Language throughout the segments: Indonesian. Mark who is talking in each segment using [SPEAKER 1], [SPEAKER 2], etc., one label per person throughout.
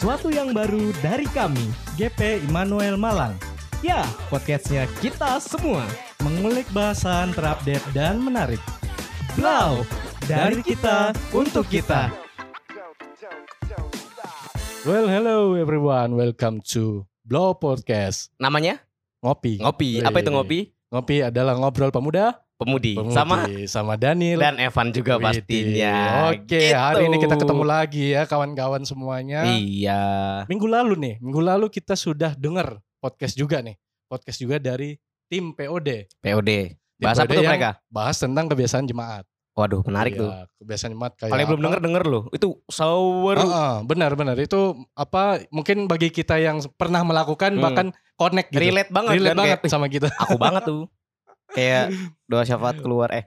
[SPEAKER 1] Suatu yang baru dari kami,
[SPEAKER 2] GP Immanuel Malang
[SPEAKER 1] ya podcastnya kita semua.
[SPEAKER 2] Mengulik bahasan terupdate dan menarik
[SPEAKER 1] Blau, dari kita untuk kita.
[SPEAKER 3] Well, hello everyone. Welcome to Blow Podcast.
[SPEAKER 4] Namanya
[SPEAKER 3] Ngopi.
[SPEAKER 4] ngopi. Apa itu ngopi?
[SPEAKER 3] Ngopi adalah ngobrol pemuda,
[SPEAKER 4] Pemudi.
[SPEAKER 3] pemudi.
[SPEAKER 4] Sama
[SPEAKER 3] sama Daniel.
[SPEAKER 4] dan Evan juga
[SPEAKER 3] Widih.
[SPEAKER 4] pastinya.
[SPEAKER 3] Oke,
[SPEAKER 4] Gitu.
[SPEAKER 3] hari ini kita ketemu lagi ya kawan-kawan semuanya.
[SPEAKER 4] Iya.
[SPEAKER 3] Minggu lalu nih, minggu lalu kita sudah dengar podcast juga nih. Podcast juga dari tim POD.
[SPEAKER 4] POD.
[SPEAKER 3] Tim
[SPEAKER 4] Bahasa apa
[SPEAKER 3] POD
[SPEAKER 4] tuh
[SPEAKER 3] yang
[SPEAKER 4] mereka?
[SPEAKER 3] Bahas tentang kebiasaan jemaat.
[SPEAKER 4] Waduh, menarik
[SPEAKER 3] ya? Iya,
[SPEAKER 4] tuh.
[SPEAKER 3] Kebiasaan jemaat kayak
[SPEAKER 4] Kalau yang belum
[SPEAKER 3] apa.
[SPEAKER 4] denger denger loh. Itu sour.
[SPEAKER 3] Heeh, benar-benar itu apa mungkin bagi kita yang pernah melakukan
[SPEAKER 4] Hmm.
[SPEAKER 3] bahkan connect gitu.
[SPEAKER 4] Relate banget
[SPEAKER 3] Relate
[SPEAKER 4] kan, kayak,
[SPEAKER 3] banget
[SPEAKER 4] "Wih,
[SPEAKER 3] sama kita.
[SPEAKER 4] aku banget tuh. Kayak doa syafaat
[SPEAKER 3] Iya.
[SPEAKER 4] keluar eh.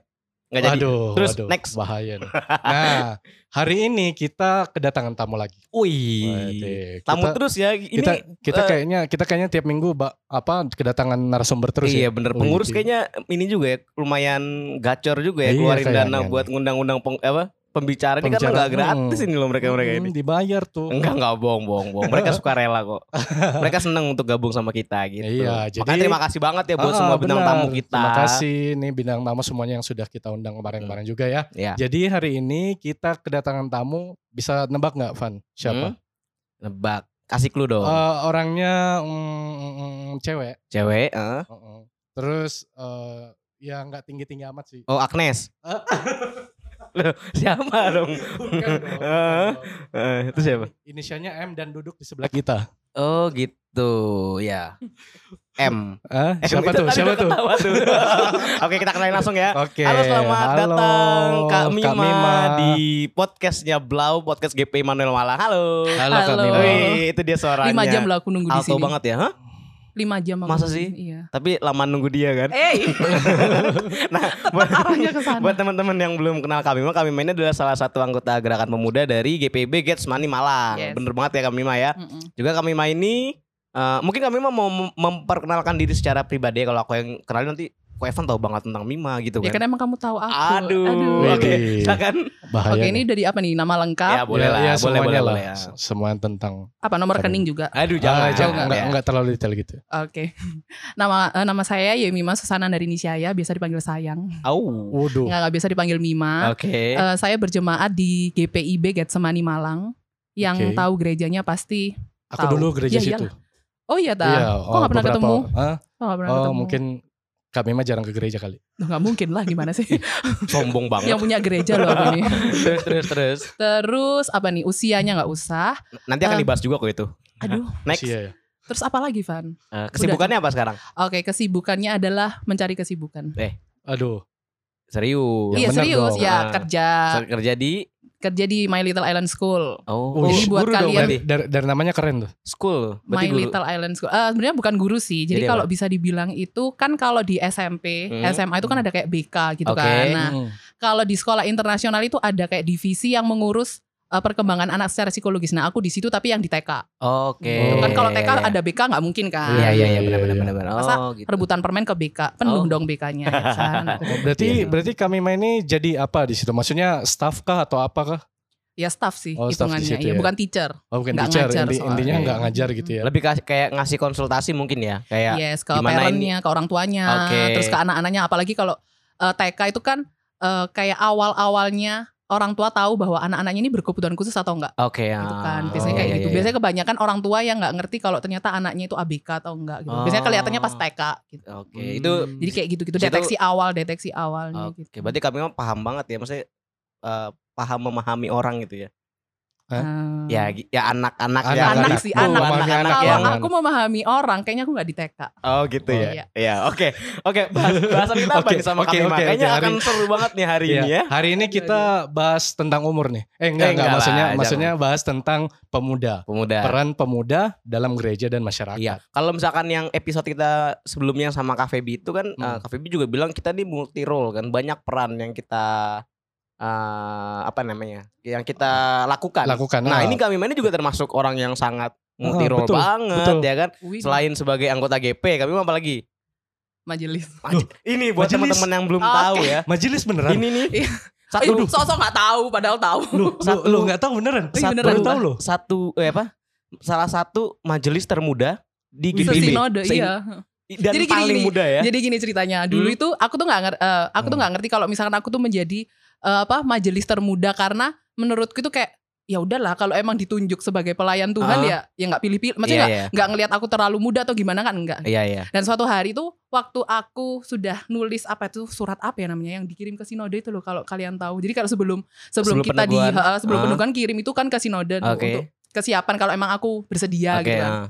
[SPEAKER 4] Enggak jadi.
[SPEAKER 3] Aduh,
[SPEAKER 4] Terus,
[SPEAKER 3] aduh,
[SPEAKER 4] next.
[SPEAKER 3] bahaya nih. Nah, hari ini kita kedatangan tamu lagi.
[SPEAKER 4] Wih.
[SPEAKER 3] Waduh,
[SPEAKER 4] Tamu
[SPEAKER 3] kita,
[SPEAKER 4] terus ya ini.
[SPEAKER 3] kita kita
[SPEAKER 4] eh,
[SPEAKER 3] kayaknya kita kayaknya tiap minggu ba- apa kedatangan narasumber terus
[SPEAKER 4] iya
[SPEAKER 3] ya.
[SPEAKER 4] bener
[SPEAKER 3] Wih,
[SPEAKER 4] pengurus
[SPEAKER 3] iya.
[SPEAKER 4] kayaknya ini juga ya lumayan gacor juga ya
[SPEAKER 3] Iya,
[SPEAKER 4] keluarin dana
[SPEAKER 3] kayaknya
[SPEAKER 4] buat ngundang-undang peng- apa pembicara ini
[SPEAKER 3] Pembicara.
[SPEAKER 4] karena nggak gratis
[SPEAKER 3] Hmm.
[SPEAKER 4] ini loh mereka mereka
[SPEAKER 3] Hmm,
[SPEAKER 4] ini
[SPEAKER 3] dibayar tuh.
[SPEAKER 4] Enggak enggak bohong bohong bohong. Mereka suka rela kok. Mereka seneng untuk gabung sama kita gitu.
[SPEAKER 3] Iya, jadi-
[SPEAKER 4] Makanya terima kasih banget ya buat
[SPEAKER 3] Ah,
[SPEAKER 4] semua bintang
[SPEAKER 3] benar.
[SPEAKER 4] tamu kita.
[SPEAKER 3] Terima kasih nih bintang tamu semuanya yang sudah kita undang kemarin-kemarin juga ya.
[SPEAKER 4] Iya.
[SPEAKER 3] Jadi hari ini kita kedatangan tamu bisa nebak nggak Van? Siapa?
[SPEAKER 4] Hmm? Nebak. Kasih clue dong.
[SPEAKER 3] Eh, orangnya mm, mm, mm, cewek.
[SPEAKER 4] Cewek. eh.
[SPEAKER 3] Heeh. Terus eh, ya nggak tinggi-tinggi amat sih.
[SPEAKER 4] Oh Agnes.
[SPEAKER 3] Eh.
[SPEAKER 4] Loh, siapa dong?
[SPEAKER 3] Bukan dong, bukan
[SPEAKER 4] Eh,
[SPEAKER 3] dong.
[SPEAKER 4] eh, itu siapa?
[SPEAKER 3] Inisialnya M dan duduk di sebelah kita.
[SPEAKER 4] Oh gitu ya. M.
[SPEAKER 3] Ah, siapa
[SPEAKER 4] Eh, Itu
[SPEAKER 3] tuh?
[SPEAKER 4] tadi
[SPEAKER 3] Siapa
[SPEAKER 4] udah
[SPEAKER 3] tuh?
[SPEAKER 4] ketawa tuh. Oke kita kenalin langsung ya.
[SPEAKER 3] Oke.
[SPEAKER 4] Halo selamat
[SPEAKER 3] halo,
[SPEAKER 4] datang Kak Mima,
[SPEAKER 3] Kak Mima.
[SPEAKER 4] di podcastnya Blau Podcast GP Manuel Malang. Halo.
[SPEAKER 3] Halo, Kak
[SPEAKER 5] Halo.
[SPEAKER 3] Mima.
[SPEAKER 4] Wih, Iya, itu dia suaranya.
[SPEAKER 5] Iya, Lima jam loh aku nunggu di
[SPEAKER 4] Alto
[SPEAKER 5] sini.
[SPEAKER 4] banget ya, hah?
[SPEAKER 5] Lima jam aku.
[SPEAKER 4] Masa
[SPEAKER 5] nunggu
[SPEAKER 4] sih?
[SPEAKER 5] di sini, Iya.
[SPEAKER 4] Tapi lama nunggu dia kan.
[SPEAKER 5] Eh,
[SPEAKER 4] Nah, buat,
[SPEAKER 5] arahnya ke sana.
[SPEAKER 4] buat teman-teman yang belum kenal kami, mah kami mainnya adalah salah satu anggota gerakan pemuda dari GPB Gets Money Malang.
[SPEAKER 5] Yes.
[SPEAKER 4] Bener banget ya kami mah ya.
[SPEAKER 5] Mm-mm.
[SPEAKER 4] Juga kami mah ini eh, mungkin kami mah mau mem- memperkenalkan diri secara pribadi ya. kalau aku yang kenalin nanti Ko Evan tahu banget tentang Mima gitu
[SPEAKER 5] Ya
[SPEAKER 4] kan. Iya.
[SPEAKER 5] karena emang kamu tahu aku.
[SPEAKER 4] Aduh.
[SPEAKER 3] Wih,
[SPEAKER 4] Oke,
[SPEAKER 3] di-
[SPEAKER 4] silakan.
[SPEAKER 3] Bahaya.
[SPEAKER 5] Oke, ini dari apa nih? Nama lengkap,
[SPEAKER 4] Ya, boleh lah,
[SPEAKER 3] ya,
[SPEAKER 4] boleh
[SPEAKER 3] semuanya
[SPEAKER 4] boleh
[SPEAKER 3] lah.
[SPEAKER 4] boleh. ya.
[SPEAKER 3] S- Semua tentang.
[SPEAKER 5] apa nomor rekening juga.
[SPEAKER 3] Ah,
[SPEAKER 4] Aduh, jangan.
[SPEAKER 3] jangan,
[SPEAKER 4] jangan
[SPEAKER 3] enggak,
[SPEAKER 4] ya.
[SPEAKER 3] enggak terlalu detail gitu.
[SPEAKER 5] Oke. nama eh, nama saya ya Mima Susana dari Nisaya, biasa dipanggil Sayang.
[SPEAKER 4] Au.
[SPEAKER 3] Waduh.
[SPEAKER 5] Enggak enggak biasa dipanggil Mima.
[SPEAKER 4] Oke.
[SPEAKER 5] Eh, saya berjemaat di GPIB Getsemani Malang.
[SPEAKER 3] Oke.
[SPEAKER 5] Yang tahu gerejanya pasti.
[SPEAKER 3] Aku
[SPEAKER 5] tahu.
[SPEAKER 3] dulu gereja
[SPEAKER 5] Iya,
[SPEAKER 3] situ.
[SPEAKER 5] Oh iya ta.
[SPEAKER 3] Iya.
[SPEAKER 5] nggak pernah
[SPEAKER 3] beberapa-
[SPEAKER 5] ketemu?
[SPEAKER 3] Hah?
[SPEAKER 5] Oh, nggak pernah
[SPEAKER 3] Oh,
[SPEAKER 5] ketemu.
[SPEAKER 3] mungkin Kak Mima jarang ke gereja kali.
[SPEAKER 5] Duh, nggak mungkin lah gimana sih.
[SPEAKER 4] Sombong banget.
[SPEAKER 5] Yang punya gereja loh aku ini.
[SPEAKER 4] terus terus terus.
[SPEAKER 5] Terus apa nih? Usianya nggak usah.
[SPEAKER 4] Nanti akan
[SPEAKER 5] Eh.
[SPEAKER 4] dibahas juga kok itu.
[SPEAKER 5] Aduh.
[SPEAKER 4] Next.
[SPEAKER 3] Iya, ya.
[SPEAKER 5] Terus apa lagi, Van?
[SPEAKER 4] Eh, kesibukannya apa sekarang?
[SPEAKER 5] Oke, kesibukannya adalah mencari kesibukan.
[SPEAKER 3] Aduh.
[SPEAKER 4] Serius.
[SPEAKER 3] Yang
[SPEAKER 5] Iya
[SPEAKER 3] bener
[SPEAKER 5] serius
[SPEAKER 3] dong.
[SPEAKER 5] ya
[SPEAKER 4] Ah.
[SPEAKER 5] kerja
[SPEAKER 4] Saya kerja di
[SPEAKER 5] kerja di My Little Island School.
[SPEAKER 4] oh,
[SPEAKER 3] Wih,
[SPEAKER 4] oh,
[SPEAKER 5] buat
[SPEAKER 4] dong
[SPEAKER 5] kalian.
[SPEAKER 4] berarti.
[SPEAKER 3] Dari, dari- dari namanya keren tuh.
[SPEAKER 4] school berarti
[SPEAKER 5] iya. My
[SPEAKER 4] guru.
[SPEAKER 5] Little Island School. Eh sebenarnya bukan guru sih. Jadi,
[SPEAKER 4] Jadi
[SPEAKER 5] kalau bisa dibilang itu kan kalau di SMP,
[SPEAKER 4] Hmm.
[SPEAKER 5] SMA itu kan ada kayak BK gitu
[SPEAKER 4] Oke.
[SPEAKER 5] kan. Nah,
[SPEAKER 3] Hmm.
[SPEAKER 5] kalau di sekolah internasional itu ada kayak divisi yang mengurus eh, perkembangan anak secara psikologis. Nah, aku di situ tapi yang di TK.
[SPEAKER 4] Oke.
[SPEAKER 5] Gitu kan kalau TK
[SPEAKER 4] Iya, iya.
[SPEAKER 5] ada BK nggak mungkin kan.
[SPEAKER 4] Iya iya iya
[SPEAKER 3] Iya,
[SPEAKER 4] benar benar
[SPEAKER 3] iya.
[SPEAKER 4] benar. benar.
[SPEAKER 5] Masa
[SPEAKER 4] Oh gitu.
[SPEAKER 5] Rebutan permen ke BK, penuh
[SPEAKER 4] Oh.
[SPEAKER 5] dong BK-nya ya kan.
[SPEAKER 3] Oh, berarti
[SPEAKER 5] Iya.
[SPEAKER 3] berarti Kak Mima ini jadi apa di situ? Maksudnya staff kah atau apa kah?
[SPEAKER 5] Ya staff sih
[SPEAKER 3] Oh, staff di
[SPEAKER 5] hitungannya,
[SPEAKER 3] situ
[SPEAKER 5] ya.
[SPEAKER 3] ya.
[SPEAKER 5] bukan teacher.
[SPEAKER 3] Oh, bukan
[SPEAKER 5] Nggak
[SPEAKER 3] teacher.
[SPEAKER 5] ngajar
[SPEAKER 3] Inti-
[SPEAKER 5] soalnya.
[SPEAKER 3] intinya nggak ngajar gitu ya.
[SPEAKER 4] Lebih kas- kayak ngasih konsultasi mungkin ya, kayak
[SPEAKER 5] Yes, ke
[SPEAKER 4] Gimana
[SPEAKER 5] parentnya, ke orang tuanya,
[SPEAKER 4] Oke.
[SPEAKER 5] terus ke anak-anaknya. Apalagi kalau eh, TK itu kan eh, kayak awal-awalnya orang tua tahu bahwa anak-anaknya ini berkebutuhan khusus atau enggak.
[SPEAKER 4] oke ya.
[SPEAKER 5] Gitu kan, biasanya
[SPEAKER 4] Oh,
[SPEAKER 5] kayak
[SPEAKER 4] iya,
[SPEAKER 5] gitu.
[SPEAKER 4] iya,
[SPEAKER 5] Biasanya kebanyakan orang tua yang nggak ngerti kalau ternyata anaknya itu ABK atau enggak. Gitu. Biasanya
[SPEAKER 4] Oh.
[SPEAKER 5] kelihatannya pas TK. Gitu.
[SPEAKER 4] iya. Oke, itu
[SPEAKER 5] Jadi kayak gitu-gitu,
[SPEAKER 4] Situ-
[SPEAKER 5] deteksi awal, deteksi awalnya
[SPEAKER 4] oke.
[SPEAKER 5] Hmm, gitu.
[SPEAKER 4] Berarti kami mah paham banget ya, maksudnya eh, paham memahami orang gitu ya.
[SPEAKER 5] Hmm.
[SPEAKER 4] Ya gi- ya anak-anak
[SPEAKER 3] Anak-anak.
[SPEAKER 4] yang
[SPEAKER 5] Anak sih, anak.
[SPEAKER 4] anak-anak
[SPEAKER 5] Kalau
[SPEAKER 4] yang
[SPEAKER 5] aku memahami orang, kayaknya aku nggak di TK.
[SPEAKER 4] Oh gitu
[SPEAKER 3] Oh,
[SPEAKER 4] ya.
[SPEAKER 5] iya.
[SPEAKER 4] Iya, oke. Oke, bahas- bahasan kita apa
[SPEAKER 3] Oke,
[SPEAKER 4] nih sama
[SPEAKER 3] oke,
[SPEAKER 4] Kak Mima?
[SPEAKER 3] oke, oke,
[SPEAKER 4] Kayaknya
[SPEAKER 3] hari-
[SPEAKER 4] akan seru banget nih hari
[SPEAKER 3] Iya.
[SPEAKER 4] ini ya.
[SPEAKER 3] Hari ini
[SPEAKER 5] Iya,
[SPEAKER 3] kita bahas tentang umur nih. Eh enggak,
[SPEAKER 4] Eh,
[SPEAKER 3] enggak,
[SPEAKER 4] enggak lah,
[SPEAKER 3] maksudnya
[SPEAKER 4] jangan.
[SPEAKER 3] maksudnya bahas tentang pemuda.
[SPEAKER 4] Pemuda.
[SPEAKER 3] Peran pemuda dalam gereja dan masyarakat.
[SPEAKER 4] Iya. Kalau misalkan yang episode kita sebelumnya sama Kak Febi itu kan
[SPEAKER 3] Hmm.
[SPEAKER 4] eh, Kak Febi juga bilang kita ini multi role kan, banyak peran yang kita eh, apa namanya? yang kita lakukan.
[SPEAKER 3] Lakukan. ah.
[SPEAKER 4] Nah, ini kami ini juga termasuk orang yang sangat multi role
[SPEAKER 3] betul,
[SPEAKER 4] banget
[SPEAKER 3] betul.
[SPEAKER 4] ya kan.
[SPEAKER 5] Wih,
[SPEAKER 4] Selain sebagai anggota GP, kami mah apalagi?
[SPEAKER 5] majelis.
[SPEAKER 4] Maj- ini buat
[SPEAKER 3] majelis.
[SPEAKER 4] teman-teman yang belum
[SPEAKER 5] Ah, Oke.
[SPEAKER 4] tahu ya.
[SPEAKER 3] majelis beneran.
[SPEAKER 4] Ini nih.
[SPEAKER 5] Iya.
[SPEAKER 4] Satu
[SPEAKER 5] Sosok nggak tahu, padahal tahu.
[SPEAKER 3] Lu, lu,
[SPEAKER 4] Satu-
[SPEAKER 3] lu nggak tahu beneran?
[SPEAKER 5] Iya,
[SPEAKER 3] Satu-
[SPEAKER 5] beneran.
[SPEAKER 3] Baru tahu lu.
[SPEAKER 4] satu eh apa? salah satu majelis termuda di GPB.
[SPEAKER 5] Sesinode,
[SPEAKER 4] Se-
[SPEAKER 5] iya.
[SPEAKER 4] Dan
[SPEAKER 5] Jadi gini,
[SPEAKER 4] paling
[SPEAKER 5] gini.
[SPEAKER 4] muda ya.
[SPEAKER 5] Jadi gini ceritanya. Dulu
[SPEAKER 4] Hmm.
[SPEAKER 5] itu aku tuh nggak ngerti, eh, aku tuh nggak ngerti kalau misalkan aku tuh menjadi eh, apa majelis termuda karena menurutku itu kayak ya udahlah kalau emang ditunjuk sebagai pelayan
[SPEAKER 4] Ah.
[SPEAKER 5] Tuhan ya ya nggak pilih-pilih.
[SPEAKER 4] Iya,
[SPEAKER 5] Maksudnya nggak
[SPEAKER 4] iya.
[SPEAKER 5] nggak ngelihat aku terlalu muda atau gimana kan enggak.
[SPEAKER 4] Iya, iya.
[SPEAKER 5] Dan suatu hari itu waktu aku sudah nulis apa itu surat apa ya namanya yang dikirim ke sinode itu loh kalau kalian tahu. Jadi kalau sebelum sebelum,
[SPEAKER 4] Sebelum
[SPEAKER 5] kita di
[SPEAKER 4] peneguhan.
[SPEAKER 5] ha, sebelum
[SPEAKER 4] Ah.
[SPEAKER 5] peneguhan kirim itu kan ke sinode tuh
[SPEAKER 4] Oke.
[SPEAKER 5] untuk kesiapan kalau emang aku bersedia
[SPEAKER 4] Oke,
[SPEAKER 5] gitu. kan.
[SPEAKER 4] ah.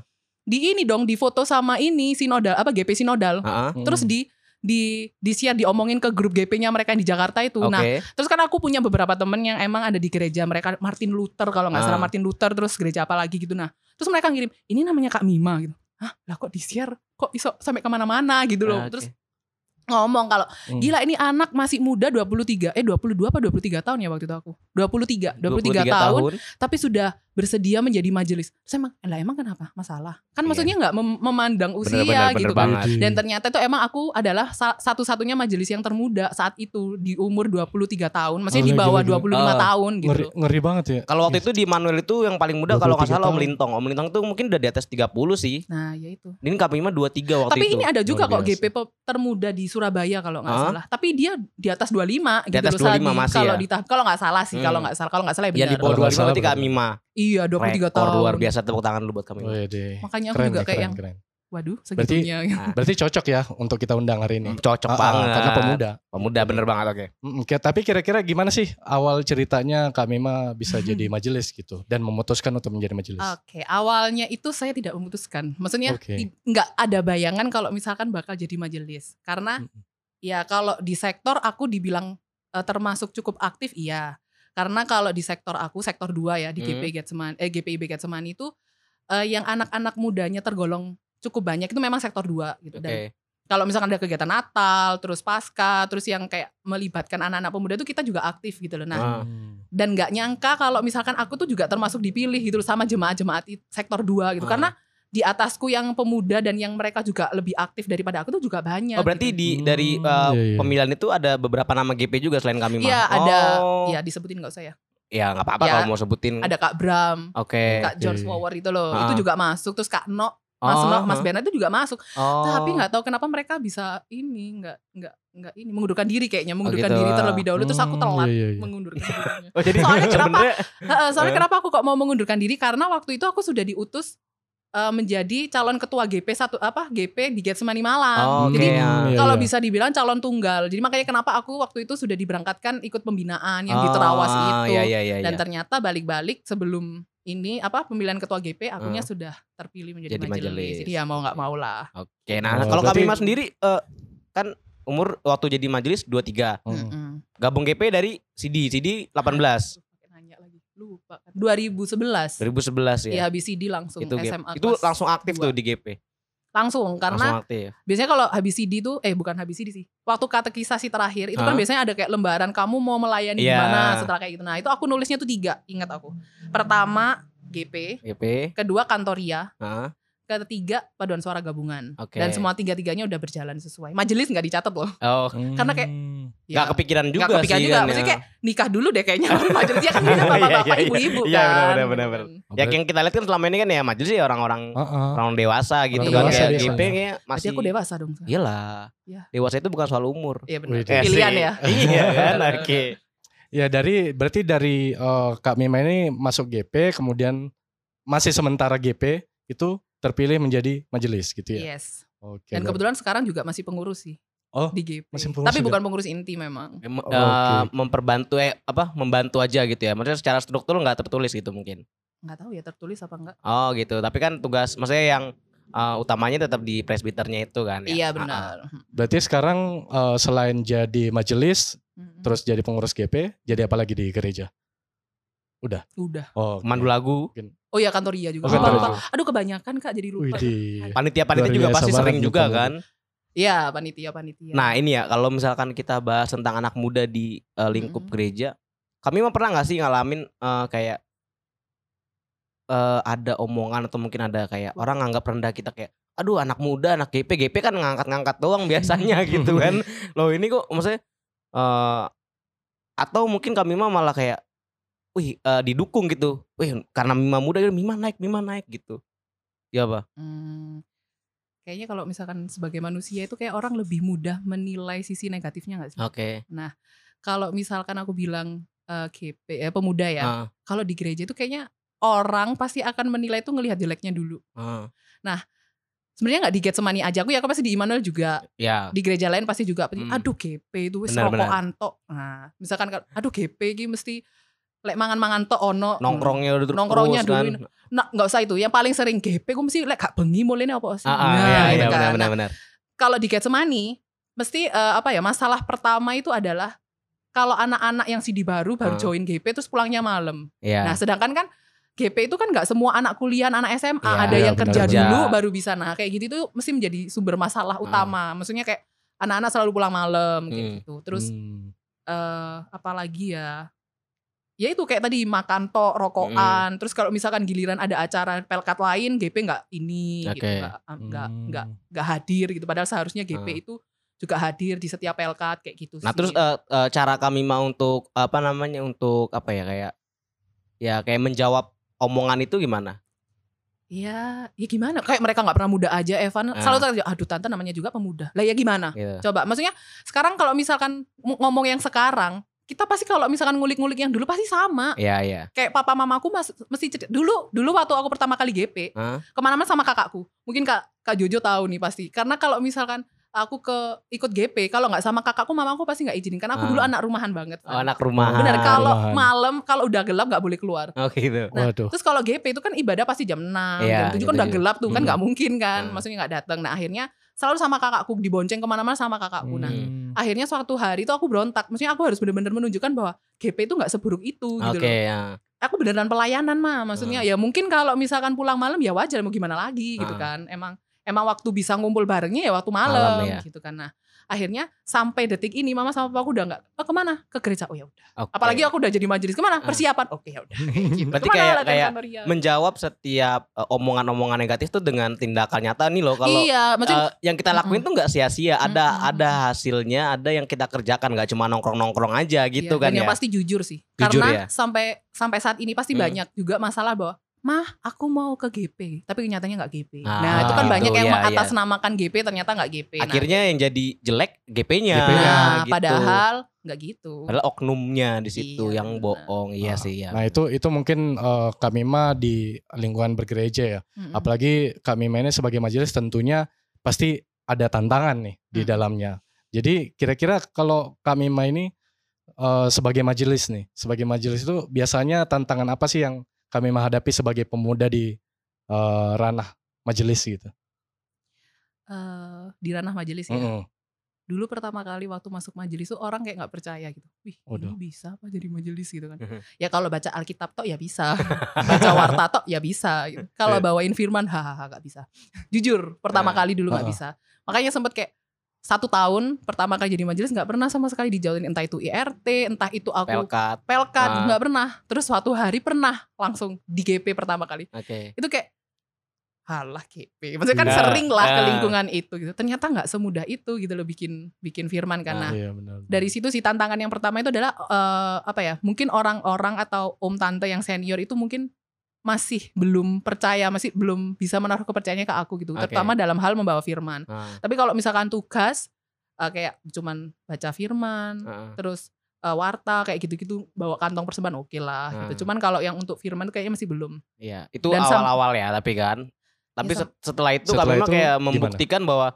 [SPEAKER 5] Di ini dong di foto sama ini sinodal apa GP sinodal.
[SPEAKER 4] Ah, ah.
[SPEAKER 5] Terus
[SPEAKER 3] Hmm,
[SPEAKER 5] di di di share diomongin ke grup GP-nya mereka yang di Jakarta itu. Nah,
[SPEAKER 4] Oke.
[SPEAKER 5] terus kan aku punya beberapa temen yang emang ada di gereja mereka Martin Luther kalau nggak
[SPEAKER 4] Ah.
[SPEAKER 5] salah Martin Luther terus gereja apa lagi gitu. Nah, terus mereka ngirim ini namanya Kak Mima gitu. Hah, lah kok di share? Kok iso sampai kemana-mana gitu loh.
[SPEAKER 3] Nah,
[SPEAKER 4] Ah, oke.
[SPEAKER 5] Terus ngomong kalau
[SPEAKER 3] Hmm.
[SPEAKER 5] gila ini anak masih muda 23 eh 22 apa 23 tahun ya waktu itu aku 23 23,
[SPEAKER 4] 23
[SPEAKER 5] tahun tapi sudah bersedia menjadi majelis terus emang lah emang kenapa masalah kan
[SPEAKER 4] Iya.
[SPEAKER 5] maksudnya nggak mem- memandang usia
[SPEAKER 4] Bener-bener
[SPEAKER 5] gitu
[SPEAKER 4] bener
[SPEAKER 5] kan
[SPEAKER 4] banget.
[SPEAKER 5] dan ternyata itu emang aku adalah sa- satu-satunya majelis yang termuda saat itu di umur 23 tahun maksudnya
[SPEAKER 3] Oh,
[SPEAKER 5] di bawah
[SPEAKER 3] gila, gila.
[SPEAKER 5] 25
[SPEAKER 4] Ah,
[SPEAKER 5] tahun gitu
[SPEAKER 3] ngeri, ngeri banget ya.
[SPEAKER 4] Kalau waktu itu di Manuel itu yang paling muda kalau nggak
[SPEAKER 3] 23
[SPEAKER 4] salah Om
[SPEAKER 3] tahun.
[SPEAKER 4] Lintong. Om Lintong tuh mungkin udah di atas 30 sih.
[SPEAKER 5] nah ya itu
[SPEAKER 4] Ini KPI mah 23 waktu
[SPEAKER 5] tapi
[SPEAKER 4] Oh, itu.
[SPEAKER 5] ini ada juga
[SPEAKER 3] Luar
[SPEAKER 5] kok
[SPEAKER 3] biasa.
[SPEAKER 5] GP pe- termuda di Surabaya kalau nggak
[SPEAKER 4] Ah?
[SPEAKER 5] salah tapi dia di atas 25
[SPEAKER 4] Di atas
[SPEAKER 5] gitu loh, saat
[SPEAKER 4] 25
[SPEAKER 5] di-
[SPEAKER 4] masih
[SPEAKER 5] kalau
[SPEAKER 4] ya?
[SPEAKER 5] ditah- kalau nggak salah sih
[SPEAKER 4] Hmm.
[SPEAKER 5] kalau nggak salah kalau nggak salah ya
[SPEAKER 4] Ya
[SPEAKER 5] benar
[SPEAKER 4] di bawah
[SPEAKER 3] Kalau nggak
[SPEAKER 4] 25 berarti
[SPEAKER 3] salah,
[SPEAKER 4] Kak Mima.
[SPEAKER 5] iya 23
[SPEAKER 4] Rekor
[SPEAKER 5] tahun
[SPEAKER 4] luar ya, biasa tepuk tangan lu buat Kak Mima.
[SPEAKER 3] Wede.
[SPEAKER 5] makanya aku
[SPEAKER 3] Keren,
[SPEAKER 5] juga
[SPEAKER 3] nih,
[SPEAKER 5] kayak
[SPEAKER 3] keren,
[SPEAKER 5] yang
[SPEAKER 3] keren.
[SPEAKER 5] waduh
[SPEAKER 3] Berarti-
[SPEAKER 5] segitunya
[SPEAKER 3] Berarti cocok ya untuk kita undang hari ini.
[SPEAKER 5] Hmm,
[SPEAKER 4] Cocok
[SPEAKER 3] Ah, ah,
[SPEAKER 4] banget.
[SPEAKER 3] Karena pemuda.
[SPEAKER 4] Pemuda bener banget oke.
[SPEAKER 3] Mm, oke, tapi kira-kira gimana sih awal ceritanya Kak Mima bisa jadi majelis gitu dan memutuskan untuk menjadi majelis?
[SPEAKER 5] Oke, awalnya itu saya tidak memutuskan. Maksudnya
[SPEAKER 3] Oke.
[SPEAKER 5] i- nggak ada bayangan kalau misalkan bakal jadi majelis. Karena
[SPEAKER 3] Mm.
[SPEAKER 5] ya kalau di sektor aku dibilang eh, termasuk cukup aktif, iya. Karena kalau di sektor aku, sektor 2 ya di GP Getsemani, eh, GPIB Getsemani itu eh, yang anak-anak mudanya tergolong cukup banyak itu memang sektor 2 gitu. Dan
[SPEAKER 4] Oke.
[SPEAKER 5] kalau misalkan ada kegiatan Natal, terus Pasca, terus yang kayak melibatkan anak-anak pemuda itu kita juga aktif gitu loh. Nah,
[SPEAKER 4] Ah.
[SPEAKER 3] Hmm.
[SPEAKER 5] dan nggak nyangka kalau misalkan aku tuh juga termasuk dipilih gitu loh sama jemaat-jemaat it- sektor 2 gitu
[SPEAKER 4] Ah.
[SPEAKER 5] karena di atasku yang pemuda dan yang mereka juga lebih aktif daripada aku tuh juga banyak.
[SPEAKER 4] Oh berarti
[SPEAKER 5] gitu.
[SPEAKER 4] di dari
[SPEAKER 3] Hmm,
[SPEAKER 4] uh,
[SPEAKER 3] iya, iya.
[SPEAKER 4] pemilihan itu ada beberapa nama GP juga selain Kak Mima.
[SPEAKER 5] Iya, ada
[SPEAKER 4] Oh.
[SPEAKER 5] ya disebutin nggak usah ya.
[SPEAKER 4] Ya nggak apa-apa
[SPEAKER 5] Ya.
[SPEAKER 4] kalau mau sebutin.
[SPEAKER 5] Ada Kak Bram,
[SPEAKER 4] Oke.
[SPEAKER 5] Kak
[SPEAKER 3] Oke.
[SPEAKER 5] George Flower itu loh.
[SPEAKER 4] Ah.
[SPEAKER 5] Itu juga masuk terus Kak No, Mas
[SPEAKER 4] Oh,
[SPEAKER 5] No,
[SPEAKER 4] ah.
[SPEAKER 5] Mas Bernard itu juga masuk.
[SPEAKER 4] Oh.
[SPEAKER 5] Tapi nggak tahu kenapa mereka bisa ini nggak nggak nggak ini mengundurkan diri kayaknya, mengundurkan
[SPEAKER 4] gitu.
[SPEAKER 5] diri terlebih dahulu terus aku
[SPEAKER 3] Hmm,
[SPEAKER 5] telat
[SPEAKER 3] iya, iya, iya.
[SPEAKER 5] mengundurkan dirinya.
[SPEAKER 4] Oh jadi
[SPEAKER 5] Soalnya kenapa-
[SPEAKER 4] sebenarnya-
[SPEAKER 5] Heeh, soalnya
[SPEAKER 4] Eh.
[SPEAKER 5] kenapa aku kok mau mengundurkan diri karena waktu itu aku sudah diutus eh, menjadi calon ketua GP satu apa GP di Getsemani Malang.
[SPEAKER 4] Oh, Oke.
[SPEAKER 5] Jadi
[SPEAKER 4] ya.
[SPEAKER 3] Iya,
[SPEAKER 5] kalau
[SPEAKER 3] iya.
[SPEAKER 5] bisa dibilang calon tunggal. Jadi makanya kenapa aku waktu itu sudah diberangkatkan ikut pembinaan yang di
[SPEAKER 4] Oh,
[SPEAKER 5] Terawas itu.
[SPEAKER 4] Iya iya iya.
[SPEAKER 5] Dan
[SPEAKER 4] iya.
[SPEAKER 5] ternyata balik-balik sebelum ini apa pemilihan ketua GP akunya sudah terpilih menjadi
[SPEAKER 4] Jadi
[SPEAKER 5] majelis.
[SPEAKER 4] majelis.
[SPEAKER 5] Jadi ya mau nggak mau lah.
[SPEAKER 4] Oke, nah
[SPEAKER 3] Oh,
[SPEAKER 4] kalau Kak
[SPEAKER 3] berarti-
[SPEAKER 4] Mima sendiri eh, kan umur waktu jadi majelis 23.
[SPEAKER 3] Hmm.
[SPEAKER 5] Mm-mm.
[SPEAKER 4] Gabung GP dari CD, CD 18
[SPEAKER 5] Pakai nanya lagi. Lupa. 2011.
[SPEAKER 4] 2011 ya.
[SPEAKER 5] Ya habis CD langsung
[SPEAKER 4] itu GP.
[SPEAKER 5] SMA.
[SPEAKER 4] itu
[SPEAKER 5] kelas
[SPEAKER 4] langsung aktif
[SPEAKER 5] dua.
[SPEAKER 4] tuh di GP.
[SPEAKER 5] Langsung karena
[SPEAKER 4] langsung aktif.
[SPEAKER 5] Biasanya kalau habis CD tuh eh bukan habis CD sih. Waktu katekisasi terakhir itu kan
[SPEAKER 4] Hah?
[SPEAKER 5] biasanya ada kayak lembaran kamu mau melayani
[SPEAKER 4] Iya.
[SPEAKER 5] gimana setelah kayak gitu. Nah, itu aku nulisnya tuh tiga, ingat aku. Pertama GP,
[SPEAKER 4] GP.
[SPEAKER 5] kedua Kantoria,
[SPEAKER 4] Heeh.
[SPEAKER 5] ketiga Paduan Suara Gabungan.
[SPEAKER 4] Oke.
[SPEAKER 5] Dan semua tiga-tiganya udah berjalan sesuai. Majelis nggak dicatat loh.
[SPEAKER 4] Oh,
[SPEAKER 3] Hmm.
[SPEAKER 5] Karena kayak-
[SPEAKER 4] nggak kepikiran juga
[SPEAKER 5] Iya. Nggak kepikiran
[SPEAKER 4] sih
[SPEAKER 5] juga.
[SPEAKER 4] kan,
[SPEAKER 5] Maksudnya
[SPEAKER 4] ya.
[SPEAKER 5] kayak nikah dulu deh kayaknya baru majelis. Ya kan biasanya bapak-bapak,
[SPEAKER 4] Iya, iya,
[SPEAKER 5] ibu-ibu
[SPEAKER 4] iya. Iya,
[SPEAKER 5] kan.
[SPEAKER 4] benar, benar, benar. Ya yang kita lihat kan selama ini kan ya majelis ya orang-orang
[SPEAKER 3] Heeh.
[SPEAKER 4] orang dewasa gitu
[SPEAKER 5] Oh.
[SPEAKER 4] kan
[SPEAKER 5] Orang dewasa
[SPEAKER 4] kayak
[SPEAKER 3] biasanya.
[SPEAKER 4] GP kayak
[SPEAKER 5] Berarti
[SPEAKER 4] masih
[SPEAKER 5] aku dewasa dong.
[SPEAKER 4] Iyalah.
[SPEAKER 5] Iya.
[SPEAKER 4] Dewasa itu bukan soal umur.
[SPEAKER 5] Iya benar.
[SPEAKER 3] Wih,
[SPEAKER 5] Pilihan ya.
[SPEAKER 4] Iya kan, oke.
[SPEAKER 3] Ya dari berarti dari eh, Kak Mima ini masuk GP kemudian masih sementara GP itu terpilih menjadi majelis gitu ya.
[SPEAKER 5] Yes.
[SPEAKER 3] Oke.
[SPEAKER 5] Iya. Dan
[SPEAKER 3] luar-
[SPEAKER 5] kebetulan sekarang juga masih pengurus sih.
[SPEAKER 3] Oh,
[SPEAKER 5] di GP.
[SPEAKER 3] masih pengurus
[SPEAKER 5] Tapi
[SPEAKER 3] juga?
[SPEAKER 5] bukan pengurus inti memang.
[SPEAKER 4] Em-
[SPEAKER 3] Oh, Oke.
[SPEAKER 4] eh, memperbantu eh apa membantu aja gitu ya maksudnya secara struktur nggak tertulis gitu mungkin
[SPEAKER 5] Nggak tahu ya tertulis apa enggak.
[SPEAKER 4] oh gitu tapi kan tugas maksudnya yang eh, utamanya tetap di presbiternya itu kan ya?
[SPEAKER 5] Iya
[SPEAKER 4] Ah, ah.
[SPEAKER 5] benar.
[SPEAKER 3] Berarti sekarang eh, selain jadi majelis
[SPEAKER 5] Mm-mm.
[SPEAKER 3] terus jadi pengurus GP, jadi apa lagi di gereja?
[SPEAKER 5] udah.
[SPEAKER 3] Oh, oke.
[SPEAKER 4] pemandu ah. lagu
[SPEAKER 5] Oh iya kantoria juga.
[SPEAKER 3] Oh,
[SPEAKER 5] Lupa,
[SPEAKER 3] kantoria
[SPEAKER 5] lupa. Aduh kebanyakan Kak jadi lupa.
[SPEAKER 3] Widih.
[SPEAKER 4] panitia panitia
[SPEAKER 3] Luar
[SPEAKER 4] juga
[SPEAKER 3] biasa
[SPEAKER 4] pasti sering
[SPEAKER 3] banget gitu.
[SPEAKER 4] juga
[SPEAKER 3] nih,
[SPEAKER 4] kan
[SPEAKER 5] Iya, panitia panitia.
[SPEAKER 4] nah ini ya kalau misalkan kita bahas tentang anak muda di eh, lingkup
[SPEAKER 5] Mm-mm.
[SPEAKER 4] gereja kami mah pernah nggak sih ngalamin eh, kayak eh, ada omongan atau mungkin ada kayak orang nganggap rendah kita kayak aduh anak muda anak GP GP kan ngangkat-ngangkat doang biasanya gitu kan loh ini kok maksudnya eh atau mungkin kami mah malah kayak wih eh, didukung gitu. Wih karena Mima muda ya Mima naik, Mima naik gitu. Ya apa?
[SPEAKER 5] Hmm, kayaknya kalau misalkan sebagai manusia itu kayak orang lebih mudah menilai sisi negatifnya nggak sih?
[SPEAKER 4] Oke.
[SPEAKER 5] Kalau misalkan aku bilang eh, KP eh, pemuda ya,
[SPEAKER 4] Ah,
[SPEAKER 5] kalau di gereja itu kayaknya orang pasti akan menilai itu ngelihat jeleknya dulu.
[SPEAKER 4] ah.
[SPEAKER 5] Sebenarnya nggak di Getsemani aja aku ya, aku pasti di Immanuel juga
[SPEAKER 4] Ya.
[SPEAKER 5] di gereja lain pasti juga
[SPEAKER 4] Hmm.
[SPEAKER 5] aduh GP itu wis
[SPEAKER 4] Benar, benar.
[SPEAKER 5] rokokan tok. Nah, misalkan kalau, aduh GP iki mesti lek mangan-mangan tok ono.
[SPEAKER 4] Nongkrongnya udah terus
[SPEAKER 5] Nongkrongnya
[SPEAKER 4] kan.
[SPEAKER 5] dulu. Nah, nggak usah itu. Yang paling sering GP aku mesti lek gak bengi mulene apa sih.
[SPEAKER 4] Ah, ah,
[SPEAKER 5] Nah,
[SPEAKER 4] ya, ya,
[SPEAKER 5] gitu kan.
[SPEAKER 4] benar,
[SPEAKER 5] Nah,
[SPEAKER 4] benar, benar.
[SPEAKER 5] kalau di Getsemani mesti eh, apa ya masalah pertama itu adalah kalau anak-anak yang CD baru baru
[SPEAKER 4] Ah.
[SPEAKER 5] join GP terus pulangnya malam.
[SPEAKER 4] Ya.
[SPEAKER 5] Nah, sedangkan kan GP itu kan nggak semua anak kuliah, anak SMA,
[SPEAKER 4] Iya,
[SPEAKER 5] ada yang
[SPEAKER 3] iya,
[SPEAKER 5] kerja
[SPEAKER 3] benar-benar.
[SPEAKER 5] dulu baru bisa. Nah, kayak gitu tuh mesti menjadi sumber masalah utama. Maksudnya kayak anak-anak selalu pulang malam kayak
[SPEAKER 4] Hmm.
[SPEAKER 5] gitu. Terus
[SPEAKER 3] Hmm.
[SPEAKER 5] eh apalagi ya ya itu kayak tadi makan tok rokokan
[SPEAKER 4] Hmm.
[SPEAKER 5] terus kalau misalkan giliran ada acara pelkat lain GP nggak ini gitu
[SPEAKER 4] Oke.
[SPEAKER 5] nggak nggak
[SPEAKER 3] Hmm.
[SPEAKER 5] nggak nggak hadir gitu padahal seharusnya GP
[SPEAKER 4] Ah.
[SPEAKER 5] itu juga hadir di setiap pelkat kayak gitu
[SPEAKER 4] Nah
[SPEAKER 5] sih.
[SPEAKER 4] terus eh, eh, cara kami mau untuk apa namanya untuk apa ya kayak ya kayak menjawab omongan itu gimana?
[SPEAKER 5] ya ya gimana kayak mereka nggak pernah muda aja
[SPEAKER 4] Ah.
[SPEAKER 5] Evan selalu tanya aduh tante namanya juga pemuda lah ya gimana
[SPEAKER 4] Gitu.
[SPEAKER 5] coba maksudnya sekarang kalau misalkan ng- ngomong yang sekarang kita pasti kalau misalkan ngulik-ngulik yang dulu pasti sama
[SPEAKER 4] Ya ya.
[SPEAKER 5] kayak papa mamaku mas, mesti cerita dulu dulu waktu aku pertama kali GP
[SPEAKER 4] Hah?
[SPEAKER 5] kemana-mana sama kakakku mungkin kak kak Jojo tahu nih pasti karena kalau misalkan aku ke ikut GP kalau nggak sama kakakku mamaku pasti nggak izinin karena aku
[SPEAKER 4] Ah.
[SPEAKER 5] dulu anak rumahan banget
[SPEAKER 4] Oh, anak rumah.
[SPEAKER 5] bener kalau
[SPEAKER 3] Rumahan.
[SPEAKER 5] malam kalau udah gelap nggak boleh keluar
[SPEAKER 4] Oh gitu.
[SPEAKER 5] Nah,
[SPEAKER 3] Waduh.
[SPEAKER 5] Terus kalau GP itu kan ibadah pasti jam 6,
[SPEAKER 4] Iya,
[SPEAKER 5] jam
[SPEAKER 4] gitu
[SPEAKER 5] 7 kan udah
[SPEAKER 4] juga.
[SPEAKER 5] gelap tuh kan
[SPEAKER 4] Hmm.
[SPEAKER 5] nggak mungkin kan,
[SPEAKER 4] Hmm.
[SPEAKER 5] maksudnya nggak datang. Nah akhirnya selalu sama kakakku dibonceng kemana-mana sama kakakku. Nah
[SPEAKER 3] Hmm.
[SPEAKER 5] akhirnya suatu hari itu aku berontak, maksudnya aku harus benar-benar menunjukkan bahwa GP itu nggak seburuk itu gitu
[SPEAKER 4] Oke Hmm.
[SPEAKER 5] loh.
[SPEAKER 4] ya.
[SPEAKER 5] Aku beneran pelayanan mah, maksudnya ya mungkin kalau misalkan pulang malam ya wajar mau gimana lagi gitu
[SPEAKER 4] Ah.
[SPEAKER 5] kan. Emang emang waktu bisa ngumpul barengnya ya waktu malam,
[SPEAKER 4] Malam, ya.
[SPEAKER 5] gitu kan. Nah akhirnya sampai detik ini mama sama papaku udah nggak, oh kemana? Ke gereja, oh ya udah.
[SPEAKER 4] Oke.
[SPEAKER 5] Apalagi aku udah jadi majelis
[SPEAKER 4] Iya.
[SPEAKER 5] kemana?
[SPEAKER 4] Ah.
[SPEAKER 5] Persiapan, oke ya udah.
[SPEAKER 4] Berarti
[SPEAKER 5] Kemana
[SPEAKER 4] kayak
[SPEAKER 5] latihan
[SPEAKER 4] kayak
[SPEAKER 5] kantoria?
[SPEAKER 4] menjawab setiap eh, omongan-omongan negatif tuh dengan tindakan nyata nih loh kalau
[SPEAKER 5] iya, maksudnya
[SPEAKER 4] eh, yang kita lakuin tuh nggak sia-sia ada
[SPEAKER 5] Mm-mm.
[SPEAKER 4] ada hasilnya ada yang kita kerjakan nggak cuma nongkrong-nongkrong aja gitu
[SPEAKER 5] Iya,
[SPEAKER 4] kan
[SPEAKER 5] dan
[SPEAKER 4] ya
[SPEAKER 5] yang pasti jujur sih.
[SPEAKER 4] Jujur ya.
[SPEAKER 5] Karena sampai sampai saat ini pasti
[SPEAKER 4] Hmm.
[SPEAKER 5] banyak juga masalah bahwa mah aku mau ke GP tapi nyatanya nggak GP.
[SPEAKER 4] Ah,
[SPEAKER 5] nah itu kan
[SPEAKER 4] gitu,
[SPEAKER 5] banyak yang
[SPEAKER 4] iya, iya.
[SPEAKER 5] mengatasnamakan GP ternyata nggak GP. Nah,
[SPEAKER 4] akhirnya yang jadi jelek GP-nya
[SPEAKER 5] nah,
[SPEAKER 3] GP-nya,
[SPEAKER 4] gitu.
[SPEAKER 5] padahal nggak gitu.
[SPEAKER 4] Padahal oknumnya di situ
[SPEAKER 5] Iya,
[SPEAKER 4] yang
[SPEAKER 5] benar.
[SPEAKER 4] bohong
[SPEAKER 3] Ah,
[SPEAKER 4] iya sih ya
[SPEAKER 3] Nah itu itu mungkin eh, kami mah di lingkungan bergereja ya.
[SPEAKER 5] Mm-mm.
[SPEAKER 4] Hmm.
[SPEAKER 3] Apalagi kami mainnya sebagai majelis tentunya pasti ada tantangan nih di
[SPEAKER 5] Hmm.
[SPEAKER 3] dalamnya. Jadi kira-kira kalau kami main ini eh, sebagai majelis nih, sebagai majelis itu biasanya tantangan apa sih yang kami menghadapi sebagai pemuda di eh, ranah majelis gitu?
[SPEAKER 5] Eh, di ranah majelis
[SPEAKER 4] Iya.
[SPEAKER 5] ya.
[SPEAKER 3] Mm-mm.
[SPEAKER 5] Dulu pertama kali waktu masuk majelis tuh orang kayak nggak percaya gitu. Wih,
[SPEAKER 3] Waduh.
[SPEAKER 5] ini bisa apa jadi majelis gitu kan.
[SPEAKER 4] Mhm.
[SPEAKER 5] ya kalau baca Alkitab tok ya bisa. baca warta tok ya bisa. gitu. Kalau
[SPEAKER 3] Iya.
[SPEAKER 5] bawain firman hahaha nggak bisa. Jujur, pertama
[SPEAKER 4] Ah,
[SPEAKER 5] kali dulu
[SPEAKER 3] ah, ah.
[SPEAKER 5] nggak bisa. Makanya sempet kayak satu tahun pertama kali jadi majelis nggak pernah sama sekali dijauhin entah itu IRT, entah itu aku
[SPEAKER 4] pelkat Ah.
[SPEAKER 5] pelkat nggak pernah. Terus suatu hari pernah langsung di GP pertama kali.
[SPEAKER 4] oke
[SPEAKER 5] Itu kayak halah GP. Maksudnya kan
[SPEAKER 3] Nah,
[SPEAKER 5] sering lah ke
[SPEAKER 4] ah.
[SPEAKER 5] lingkungan itu gitu. Ternyata nggak semudah itu gitu loh bikin bikin firman
[SPEAKER 4] Ah,
[SPEAKER 5] karena
[SPEAKER 3] Iya, benar.
[SPEAKER 5] dari situ sih tantangan yang pertama itu adalah eh, apa ya mungkin orang-orang atau om tante yang senior itu mungkin masih belum percaya masih belum bisa menaruh kepercayaannya ke aku gitu
[SPEAKER 4] Oke.
[SPEAKER 5] terutama dalam hal membawa firman
[SPEAKER 4] Ah,
[SPEAKER 5] tapi kalau misalkan tugas eh, kayak cuman baca firman
[SPEAKER 4] ah,
[SPEAKER 5] terus eh, warta kayak gitu-gitu bawa kantong persembahan oke lah
[SPEAKER 4] Ah.
[SPEAKER 5] gitu cuman kalau yang untuk firman tuh kayaknya masih belum
[SPEAKER 4] iya itu
[SPEAKER 5] Dan sam- Iya,
[SPEAKER 4] awal-awal ya tapi kan tapi
[SPEAKER 5] sam-
[SPEAKER 4] set- setelah itu
[SPEAKER 3] Setelah
[SPEAKER 4] kami memang
[SPEAKER 3] itu
[SPEAKER 4] kayak
[SPEAKER 3] gimana?
[SPEAKER 4] membuktikan bahwa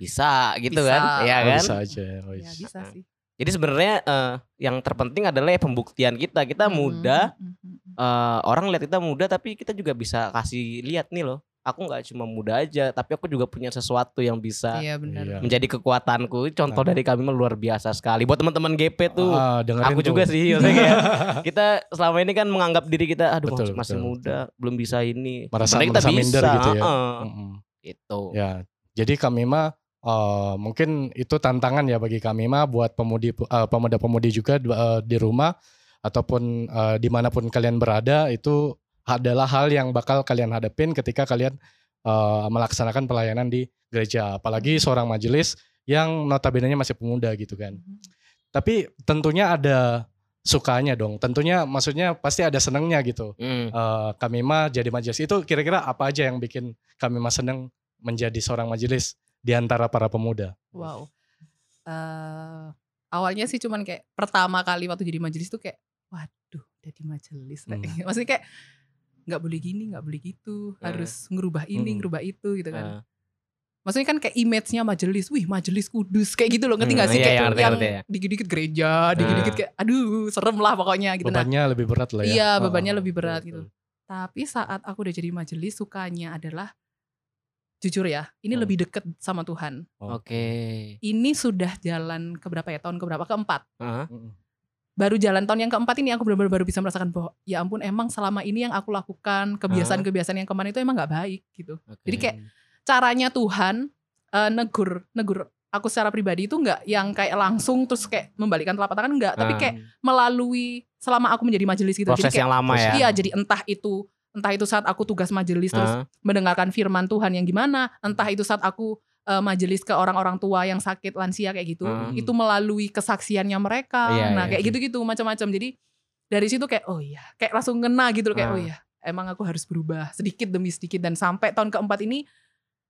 [SPEAKER 4] bisa gitu
[SPEAKER 5] Bisa.
[SPEAKER 4] kan ya
[SPEAKER 3] Oh,
[SPEAKER 4] kan
[SPEAKER 3] bisa aja. oh, iya.
[SPEAKER 5] ya bisa sih
[SPEAKER 4] jadi sebenarnya eh, yang terpenting adalah ya pembuktian kita kita
[SPEAKER 5] Mm,
[SPEAKER 4] muda
[SPEAKER 5] mm, mm, mm.
[SPEAKER 4] eh, orang lihat kita muda tapi kita juga bisa kasih lihat nih loh aku nggak cuma muda aja tapi aku juga punya sesuatu yang bisa
[SPEAKER 5] iya benar
[SPEAKER 3] Iya.
[SPEAKER 4] menjadi kekuatanku contoh
[SPEAKER 3] Nah.
[SPEAKER 4] dari kami mah luar biasa sekali buat teman-teman GP tuh
[SPEAKER 3] Ah, dengerin
[SPEAKER 4] aku
[SPEAKER 3] tuh.
[SPEAKER 4] juga sih maksudnya kayak kita selama ini kan menganggap diri kita aduh
[SPEAKER 3] Betul,
[SPEAKER 4] masih
[SPEAKER 3] betul,
[SPEAKER 4] muda belum bisa ini
[SPEAKER 3] Merasa-
[SPEAKER 4] Padahal kita
[SPEAKER 3] merasa minder gitu ya.
[SPEAKER 4] heeh.
[SPEAKER 3] Mm-mm.
[SPEAKER 4] Gitu.
[SPEAKER 3] Ya, jadi kami mah eh, mungkin itu tantangan ya bagi kami mah buat pemudi eh, pemuda-pemudi juga eh, di rumah ataupun eh, dimanapun kalian berada itu adalah hal yang bakal kalian hadapin ketika kalian eh, melaksanakan pelayanan di gereja, apalagi seorang
[SPEAKER 5] hmm.
[SPEAKER 3] majelis yang notabene masih pemuda gitu kan. Tapi tentunya ada sukanya dong. Tentunya maksudnya pasti ada senengnya gitu.
[SPEAKER 4] Hmm.
[SPEAKER 3] Eh kami mah jadi majelis itu kira-kira apa aja yang bikin kami mah seneng menjadi seorang majelis di antara para pemuda?
[SPEAKER 5] Wow. Eh, awalnya sih cuman kayak pertama kali waktu jadi majelis tuh kayak waduh udah di majelis Rek." Maksudnya kayak nggak boleh gini, nggak boleh gitu,
[SPEAKER 4] Hmm.
[SPEAKER 5] harus ngerubah ini,
[SPEAKER 3] Hmm.
[SPEAKER 5] ngerubah itu gitu kan.
[SPEAKER 4] Eh,
[SPEAKER 5] Maksudnya kan kayak image-nya majelis, wih majelis kudus kayak gitu loh, ngerti
[SPEAKER 4] Hmm,
[SPEAKER 5] nggak sih
[SPEAKER 4] iya,
[SPEAKER 5] kayak
[SPEAKER 4] iya, Eh. ngerti,
[SPEAKER 5] yang
[SPEAKER 4] ngerti, ya.
[SPEAKER 5] dikit-dikit gereja, dikit-dikit kayak aduh serem lah pokoknya gitu. Nah,
[SPEAKER 3] Bebannya lebih berat lah ya.
[SPEAKER 5] Iya,
[SPEAKER 3] Oh,
[SPEAKER 5] bebannya
[SPEAKER 3] oh,
[SPEAKER 5] lebih
[SPEAKER 3] betul,
[SPEAKER 5] berat gitu. Tapi saat aku udah jadi majelis sukanya adalah jujur ya, ini
[SPEAKER 3] Hmm.
[SPEAKER 5] lebih deket sama Tuhan.
[SPEAKER 4] Oke.
[SPEAKER 5] Ini sudah jalan keberapa ya tahun keberapa keempat.
[SPEAKER 4] Heeh.
[SPEAKER 3] betul. Mm-mm.
[SPEAKER 5] Baru jalan tahun yang keempat ini aku benar-benar baru bisa merasakan bahwa ya ampun emang selama ini yang aku lakukan kebiasaan-kebiasaan yang kemarin itu emang nggak baik gitu. Jadi kayak
[SPEAKER 4] Hmm.
[SPEAKER 5] caranya Tuhan eh, negur negur aku secara pribadi itu nggak yang kayak langsung terus kayak membalikkan telapak tangan nggak, tapi
[SPEAKER 4] Ah.
[SPEAKER 5] kayak melalui selama aku menjadi majelis gitu. Jadi
[SPEAKER 4] proses
[SPEAKER 5] kayak-
[SPEAKER 4] yang lama ya.
[SPEAKER 5] Iya, jadi entah itu entah itu saat aku tugas majelis terus
[SPEAKER 4] Heeh.
[SPEAKER 5] mendengarkan firman Tuhan yang gimana, entah itu saat aku eh, majelis ke orang-orang tua yang sakit lansia kayak gitu,
[SPEAKER 4] Hmm.
[SPEAKER 5] itu melalui kesaksiannya mereka.
[SPEAKER 4] Iya,
[SPEAKER 5] nah,
[SPEAKER 4] iya.
[SPEAKER 5] kayak gitu-gitu macam-macam. Jadi dari situ kayak oh iya, kayak langsung ngena gitu loh kayak
[SPEAKER 4] Ah.
[SPEAKER 5] oh iya, emang aku harus berubah sedikit demi sedikit dan sampai tahun keempat ini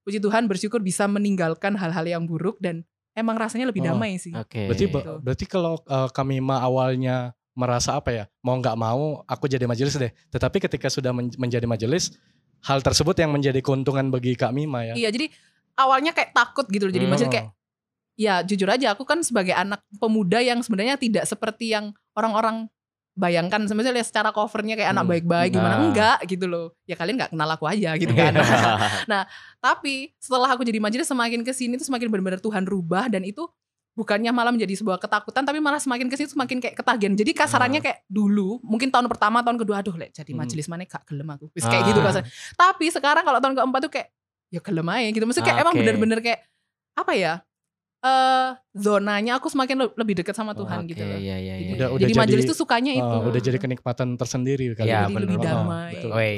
[SPEAKER 5] puji Tuhan bersyukur bisa meninggalkan hal-hal yang buruk dan emang rasanya lebih
[SPEAKER 3] Oh,
[SPEAKER 5] damai sih.
[SPEAKER 4] Oke.
[SPEAKER 3] Berarti
[SPEAKER 5] Gitu.
[SPEAKER 3] ba- berarti kalau eh, kami mah awalnya merasa apa ya? Mau nggak mau aku jadi majelis deh. Tetapi ketika sudah men- menjadi majelis, hal tersebut yang menjadi keuntungan bagi kami mah ya.
[SPEAKER 5] Iya, jadi awalnya kayak takut gitu loh jadi
[SPEAKER 4] Hmm.
[SPEAKER 5] maksudnya kayak ya jujur aja aku kan sebagai anak pemuda yang sebenarnya tidak seperti yang orang-orang bayangkan sebenarnya lihat secara covernya kayak anak
[SPEAKER 3] Hmm.
[SPEAKER 5] baik-baik gimana
[SPEAKER 4] Nah. Iya.
[SPEAKER 5] enggak gitu loh ya kalian nggak kenal aku aja gitu kan tapi setelah aku jadi majelis semakin kesini tuh semakin benar-benar Tuhan rubah dan itu bukannya malah menjadi sebuah ketakutan tapi malah semakin kesini tuh semakin kayak ketagihan jadi kasarannya kayak dulu mungkin tahun pertama tahun kedua aduh lek jadi
[SPEAKER 3] Hmm.
[SPEAKER 5] majelis mana ya? gak gelem aku Wis kayak
[SPEAKER 4] Ah.
[SPEAKER 5] gitu kasar tapi sekarang kalau tahun keempat tuh kayak ya gelem aja gitu maksudnya kayak
[SPEAKER 4] Ah,
[SPEAKER 5] emang
[SPEAKER 4] oke.
[SPEAKER 5] bener-bener kayak apa ya eh zonanya aku semakin le- lebih dekat sama Tuhan
[SPEAKER 4] Oke,
[SPEAKER 5] gitu loh
[SPEAKER 4] Iya iya iya.
[SPEAKER 3] Udah-
[SPEAKER 5] jadi
[SPEAKER 3] jadi-
[SPEAKER 5] majelis tuh sukanya
[SPEAKER 3] Eh,
[SPEAKER 5] itu
[SPEAKER 3] udah jadi kenikmatan tersendiri kali. ya.
[SPEAKER 4] Iya,
[SPEAKER 5] jadi lebih
[SPEAKER 4] bener.
[SPEAKER 5] damai
[SPEAKER 3] betul.
[SPEAKER 4] Woi,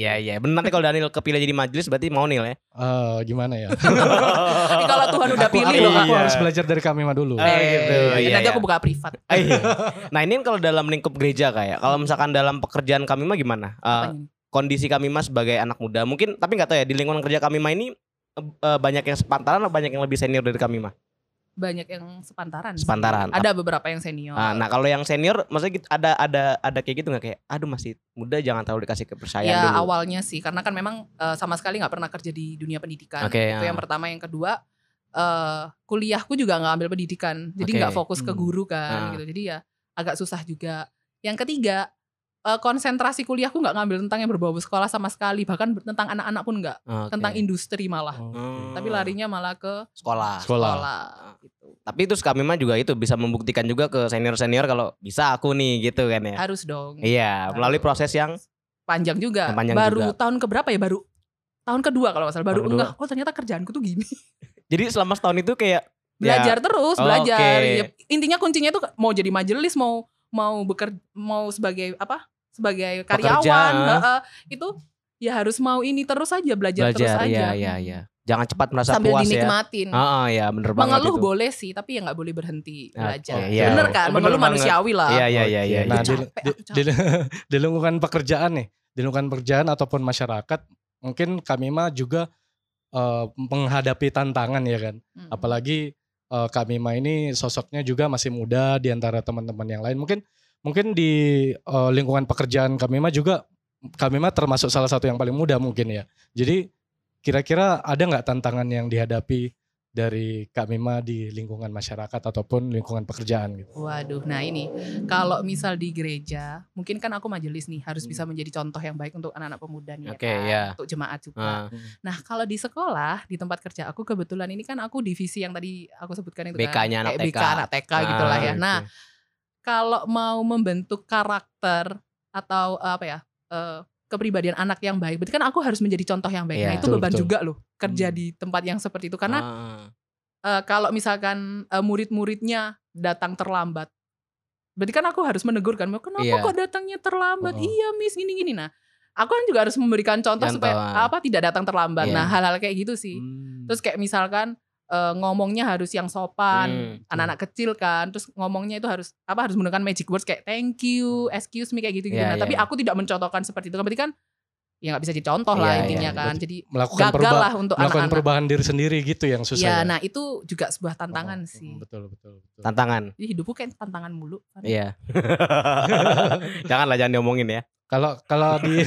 [SPEAKER 4] iya iya. Benar nanti kalau Daniel kepilih jadi majelis berarti mau Nil ya.
[SPEAKER 3] Eh, gimana ya?
[SPEAKER 5] Eh, kalau Tuhan udah
[SPEAKER 3] Aku-
[SPEAKER 5] pilih
[SPEAKER 3] aku,
[SPEAKER 5] loh
[SPEAKER 4] Kak.
[SPEAKER 3] aku Oh, harus belajar dari kami mah dulu.
[SPEAKER 4] Eh, gitu, iya,
[SPEAKER 5] nanti
[SPEAKER 4] iya.
[SPEAKER 5] aku buka privat
[SPEAKER 4] Eh, iya. nah ini kan kalau dalam lingkup gereja kayak, kalau misalkan dalam pekerjaan kami mah gimana? Eh,
[SPEAKER 5] Apanya nih?
[SPEAKER 4] kondisi kami mah sebagai anak muda, mungkin tapi nggak tahu ya di lingkungan kerja kami mah ini eh, eh, banyak yang sepantaran atau banyak yang lebih senior dari kami mah?
[SPEAKER 5] banyak yang sepantaran sih.
[SPEAKER 4] Sepantaran.
[SPEAKER 5] ada beberapa yang senior
[SPEAKER 4] Ah, nah kalau yang senior, maksudnya gitu, ada ada ada kayak gitu nggak kayak, aduh masih muda jangan terlalu dikasih kepercayaan
[SPEAKER 5] ya
[SPEAKER 4] dulu.
[SPEAKER 5] awalnya sih karena kan memang eh, sama sekali nggak pernah kerja di dunia pendidikan
[SPEAKER 4] Oke, ah.
[SPEAKER 5] itu yang pertama yang kedua eh kuliahku juga nggak ambil pendidikan jadi
[SPEAKER 4] Oke.
[SPEAKER 5] nggak fokus ke
[SPEAKER 3] Hmm.
[SPEAKER 5] guru
[SPEAKER 4] Ah.
[SPEAKER 5] kan gitu jadi ya agak susah juga yang ketiga eh, konsentrasi kuliahku nggak ngambil tentang yang berbau sekolah sama sekali bahkan ber- tentang anak-anak pun nggak
[SPEAKER 4] Oke.
[SPEAKER 5] tentang industri malah
[SPEAKER 4] Hmm.
[SPEAKER 5] tapi larinya malah ke
[SPEAKER 4] sekolah.
[SPEAKER 3] Sekolah.
[SPEAKER 5] sekolah gitu.
[SPEAKER 4] Tapi terus kami mah juga itu bisa membuktikan juga ke senior-senior kalau bisa aku nih gitu kan ya.
[SPEAKER 5] harus dong
[SPEAKER 4] Iya, melalui proses yang
[SPEAKER 5] Nah, panjang juga.
[SPEAKER 4] Yang panjang
[SPEAKER 5] baru
[SPEAKER 4] juga.
[SPEAKER 5] tahun keberapa ya baru tahun kedua kalau nggak salah baru
[SPEAKER 4] Tahun kedua.
[SPEAKER 5] enggak. Oh ternyata kerjaanku tuh gini.
[SPEAKER 4] jadi selama setahun itu kayak
[SPEAKER 5] Belajar terus,
[SPEAKER 4] Oke.
[SPEAKER 5] belajar. Ya, intinya kuncinya tuh mau jadi majelis, mau mau bekerja, mau sebagai apa? Sebagai karyawan, heeh, itu ya harus mau ini terus aja belajar, terus
[SPEAKER 4] belajar ya
[SPEAKER 5] aja.
[SPEAKER 4] ya ya. Jangan cepat merasa
[SPEAKER 5] Sambil
[SPEAKER 4] puas ya.
[SPEAKER 5] dinikmatin.
[SPEAKER 4] Ah, ah, ya bener banget
[SPEAKER 5] Mengeluh
[SPEAKER 4] itu.
[SPEAKER 5] boleh sih, tapi ya nggak boleh berhenti belajar.
[SPEAKER 4] Oke, iya.
[SPEAKER 5] Bener kan?
[SPEAKER 4] Bener
[SPEAKER 5] Mengeluh
[SPEAKER 4] banget.
[SPEAKER 5] manusiawi lah.
[SPEAKER 4] Iya iya iya
[SPEAKER 3] Oke.
[SPEAKER 4] iya.
[SPEAKER 3] Nah,
[SPEAKER 4] iya.
[SPEAKER 3] di,
[SPEAKER 5] Capek,
[SPEAKER 3] di,
[SPEAKER 5] aku
[SPEAKER 3] di, di lingkungan pekerjaan nih, di lingkungan pekerjaan ataupun masyarakat, mungkin kami mah juga eh, menghadapi tantangan ya kan.
[SPEAKER 5] Mm.
[SPEAKER 3] apalagi eh, kami mah ini sosoknya juga masih muda di antara teman-teman yang lain mungkin mungkin di eh, lingkungan pekerjaan kami mah juga kami mah termasuk salah satu yang paling muda mungkin ya jadi kira-kira ada nggak tantangan yang dihadapi dari kami mah di lingkungan masyarakat ataupun lingkungan pekerjaan gitu
[SPEAKER 5] Waduh, nah ini kalau misal di gereja, mungkin kan aku majelis nih harus
[SPEAKER 3] Hmm.
[SPEAKER 5] bisa menjadi contoh yang baik untuk anak-anak pemuda nih,
[SPEAKER 4] Oke,
[SPEAKER 5] kan?
[SPEAKER 4] ya.
[SPEAKER 5] untuk jemaat juga.
[SPEAKER 4] Ah,
[SPEAKER 5] Nah kalau di sekolah, di tempat kerja aku kebetulan ini kan aku divisi yang tadi aku sebutkan itu kan,
[SPEAKER 4] BK-nya anak
[SPEAKER 5] kayak BK
[SPEAKER 4] TK.
[SPEAKER 5] anak TK gitu lah ya.
[SPEAKER 4] Ah,
[SPEAKER 5] Nah kalau mau membentuk karakter atau eh, apa ya eh, kepribadian anak yang baik, berarti kan aku harus menjadi contoh yang baik.
[SPEAKER 4] Iya.
[SPEAKER 5] Nah itu
[SPEAKER 3] Betul,
[SPEAKER 5] beban
[SPEAKER 3] betul.
[SPEAKER 5] juga loh kerja
[SPEAKER 3] Hmm.
[SPEAKER 5] di tempat yang seperti itu karena
[SPEAKER 4] ah.
[SPEAKER 5] Eh, kalau misalkan eh, murid-muridnya datang terlambat, berarti kan aku harus menegur kan, kenapa
[SPEAKER 4] Iya.
[SPEAKER 5] kok datangnya
[SPEAKER 3] Oh.
[SPEAKER 5] terlambat? Iya miss gini-gini. Nah, aku kan juga harus memberikan contoh
[SPEAKER 4] Contoh,
[SPEAKER 5] supaya
[SPEAKER 4] ah.
[SPEAKER 5] apa tidak datang terlambat.
[SPEAKER 4] Iya.
[SPEAKER 5] Nah hal-hal kayak gitu sih.
[SPEAKER 3] Hmm.
[SPEAKER 5] Terus kayak misalkan eh, ngomongnya harus yang sopan.
[SPEAKER 4] Hmm.
[SPEAKER 5] Anak-anak kecil kan, terus ngomongnya itu harus apa harus menggunakan magic words kayak thank you, excuse me kayak gitu-gitu.
[SPEAKER 4] Hmm. Iya,
[SPEAKER 5] Nah, tapi
[SPEAKER 4] iya.
[SPEAKER 5] aku tidak mencontohkan seperti itu. Berarti kan ya nggak bisa dicontoh
[SPEAKER 4] Iya,
[SPEAKER 5] lah
[SPEAKER 4] iya,
[SPEAKER 5] intinya
[SPEAKER 3] iya.
[SPEAKER 5] kan. Jadi
[SPEAKER 3] melakukan
[SPEAKER 5] gagal
[SPEAKER 3] perubahan
[SPEAKER 5] lah untuk
[SPEAKER 3] melakukan
[SPEAKER 5] anak-anak.
[SPEAKER 3] perubahan diri sendiri gitu yang susah.
[SPEAKER 5] Iya,
[SPEAKER 3] ya?
[SPEAKER 5] nah itu juga sebuah tantangan
[SPEAKER 3] Oh,
[SPEAKER 5] sih.
[SPEAKER 3] Betul betul betul.
[SPEAKER 4] Tantangan.
[SPEAKER 5] Jadi hidupku kayak tantangan mulu.
[SPEAKER 4] Iya. Janganlah jangan diomongin ya.
[SPEAKER 3] Kalau kalau di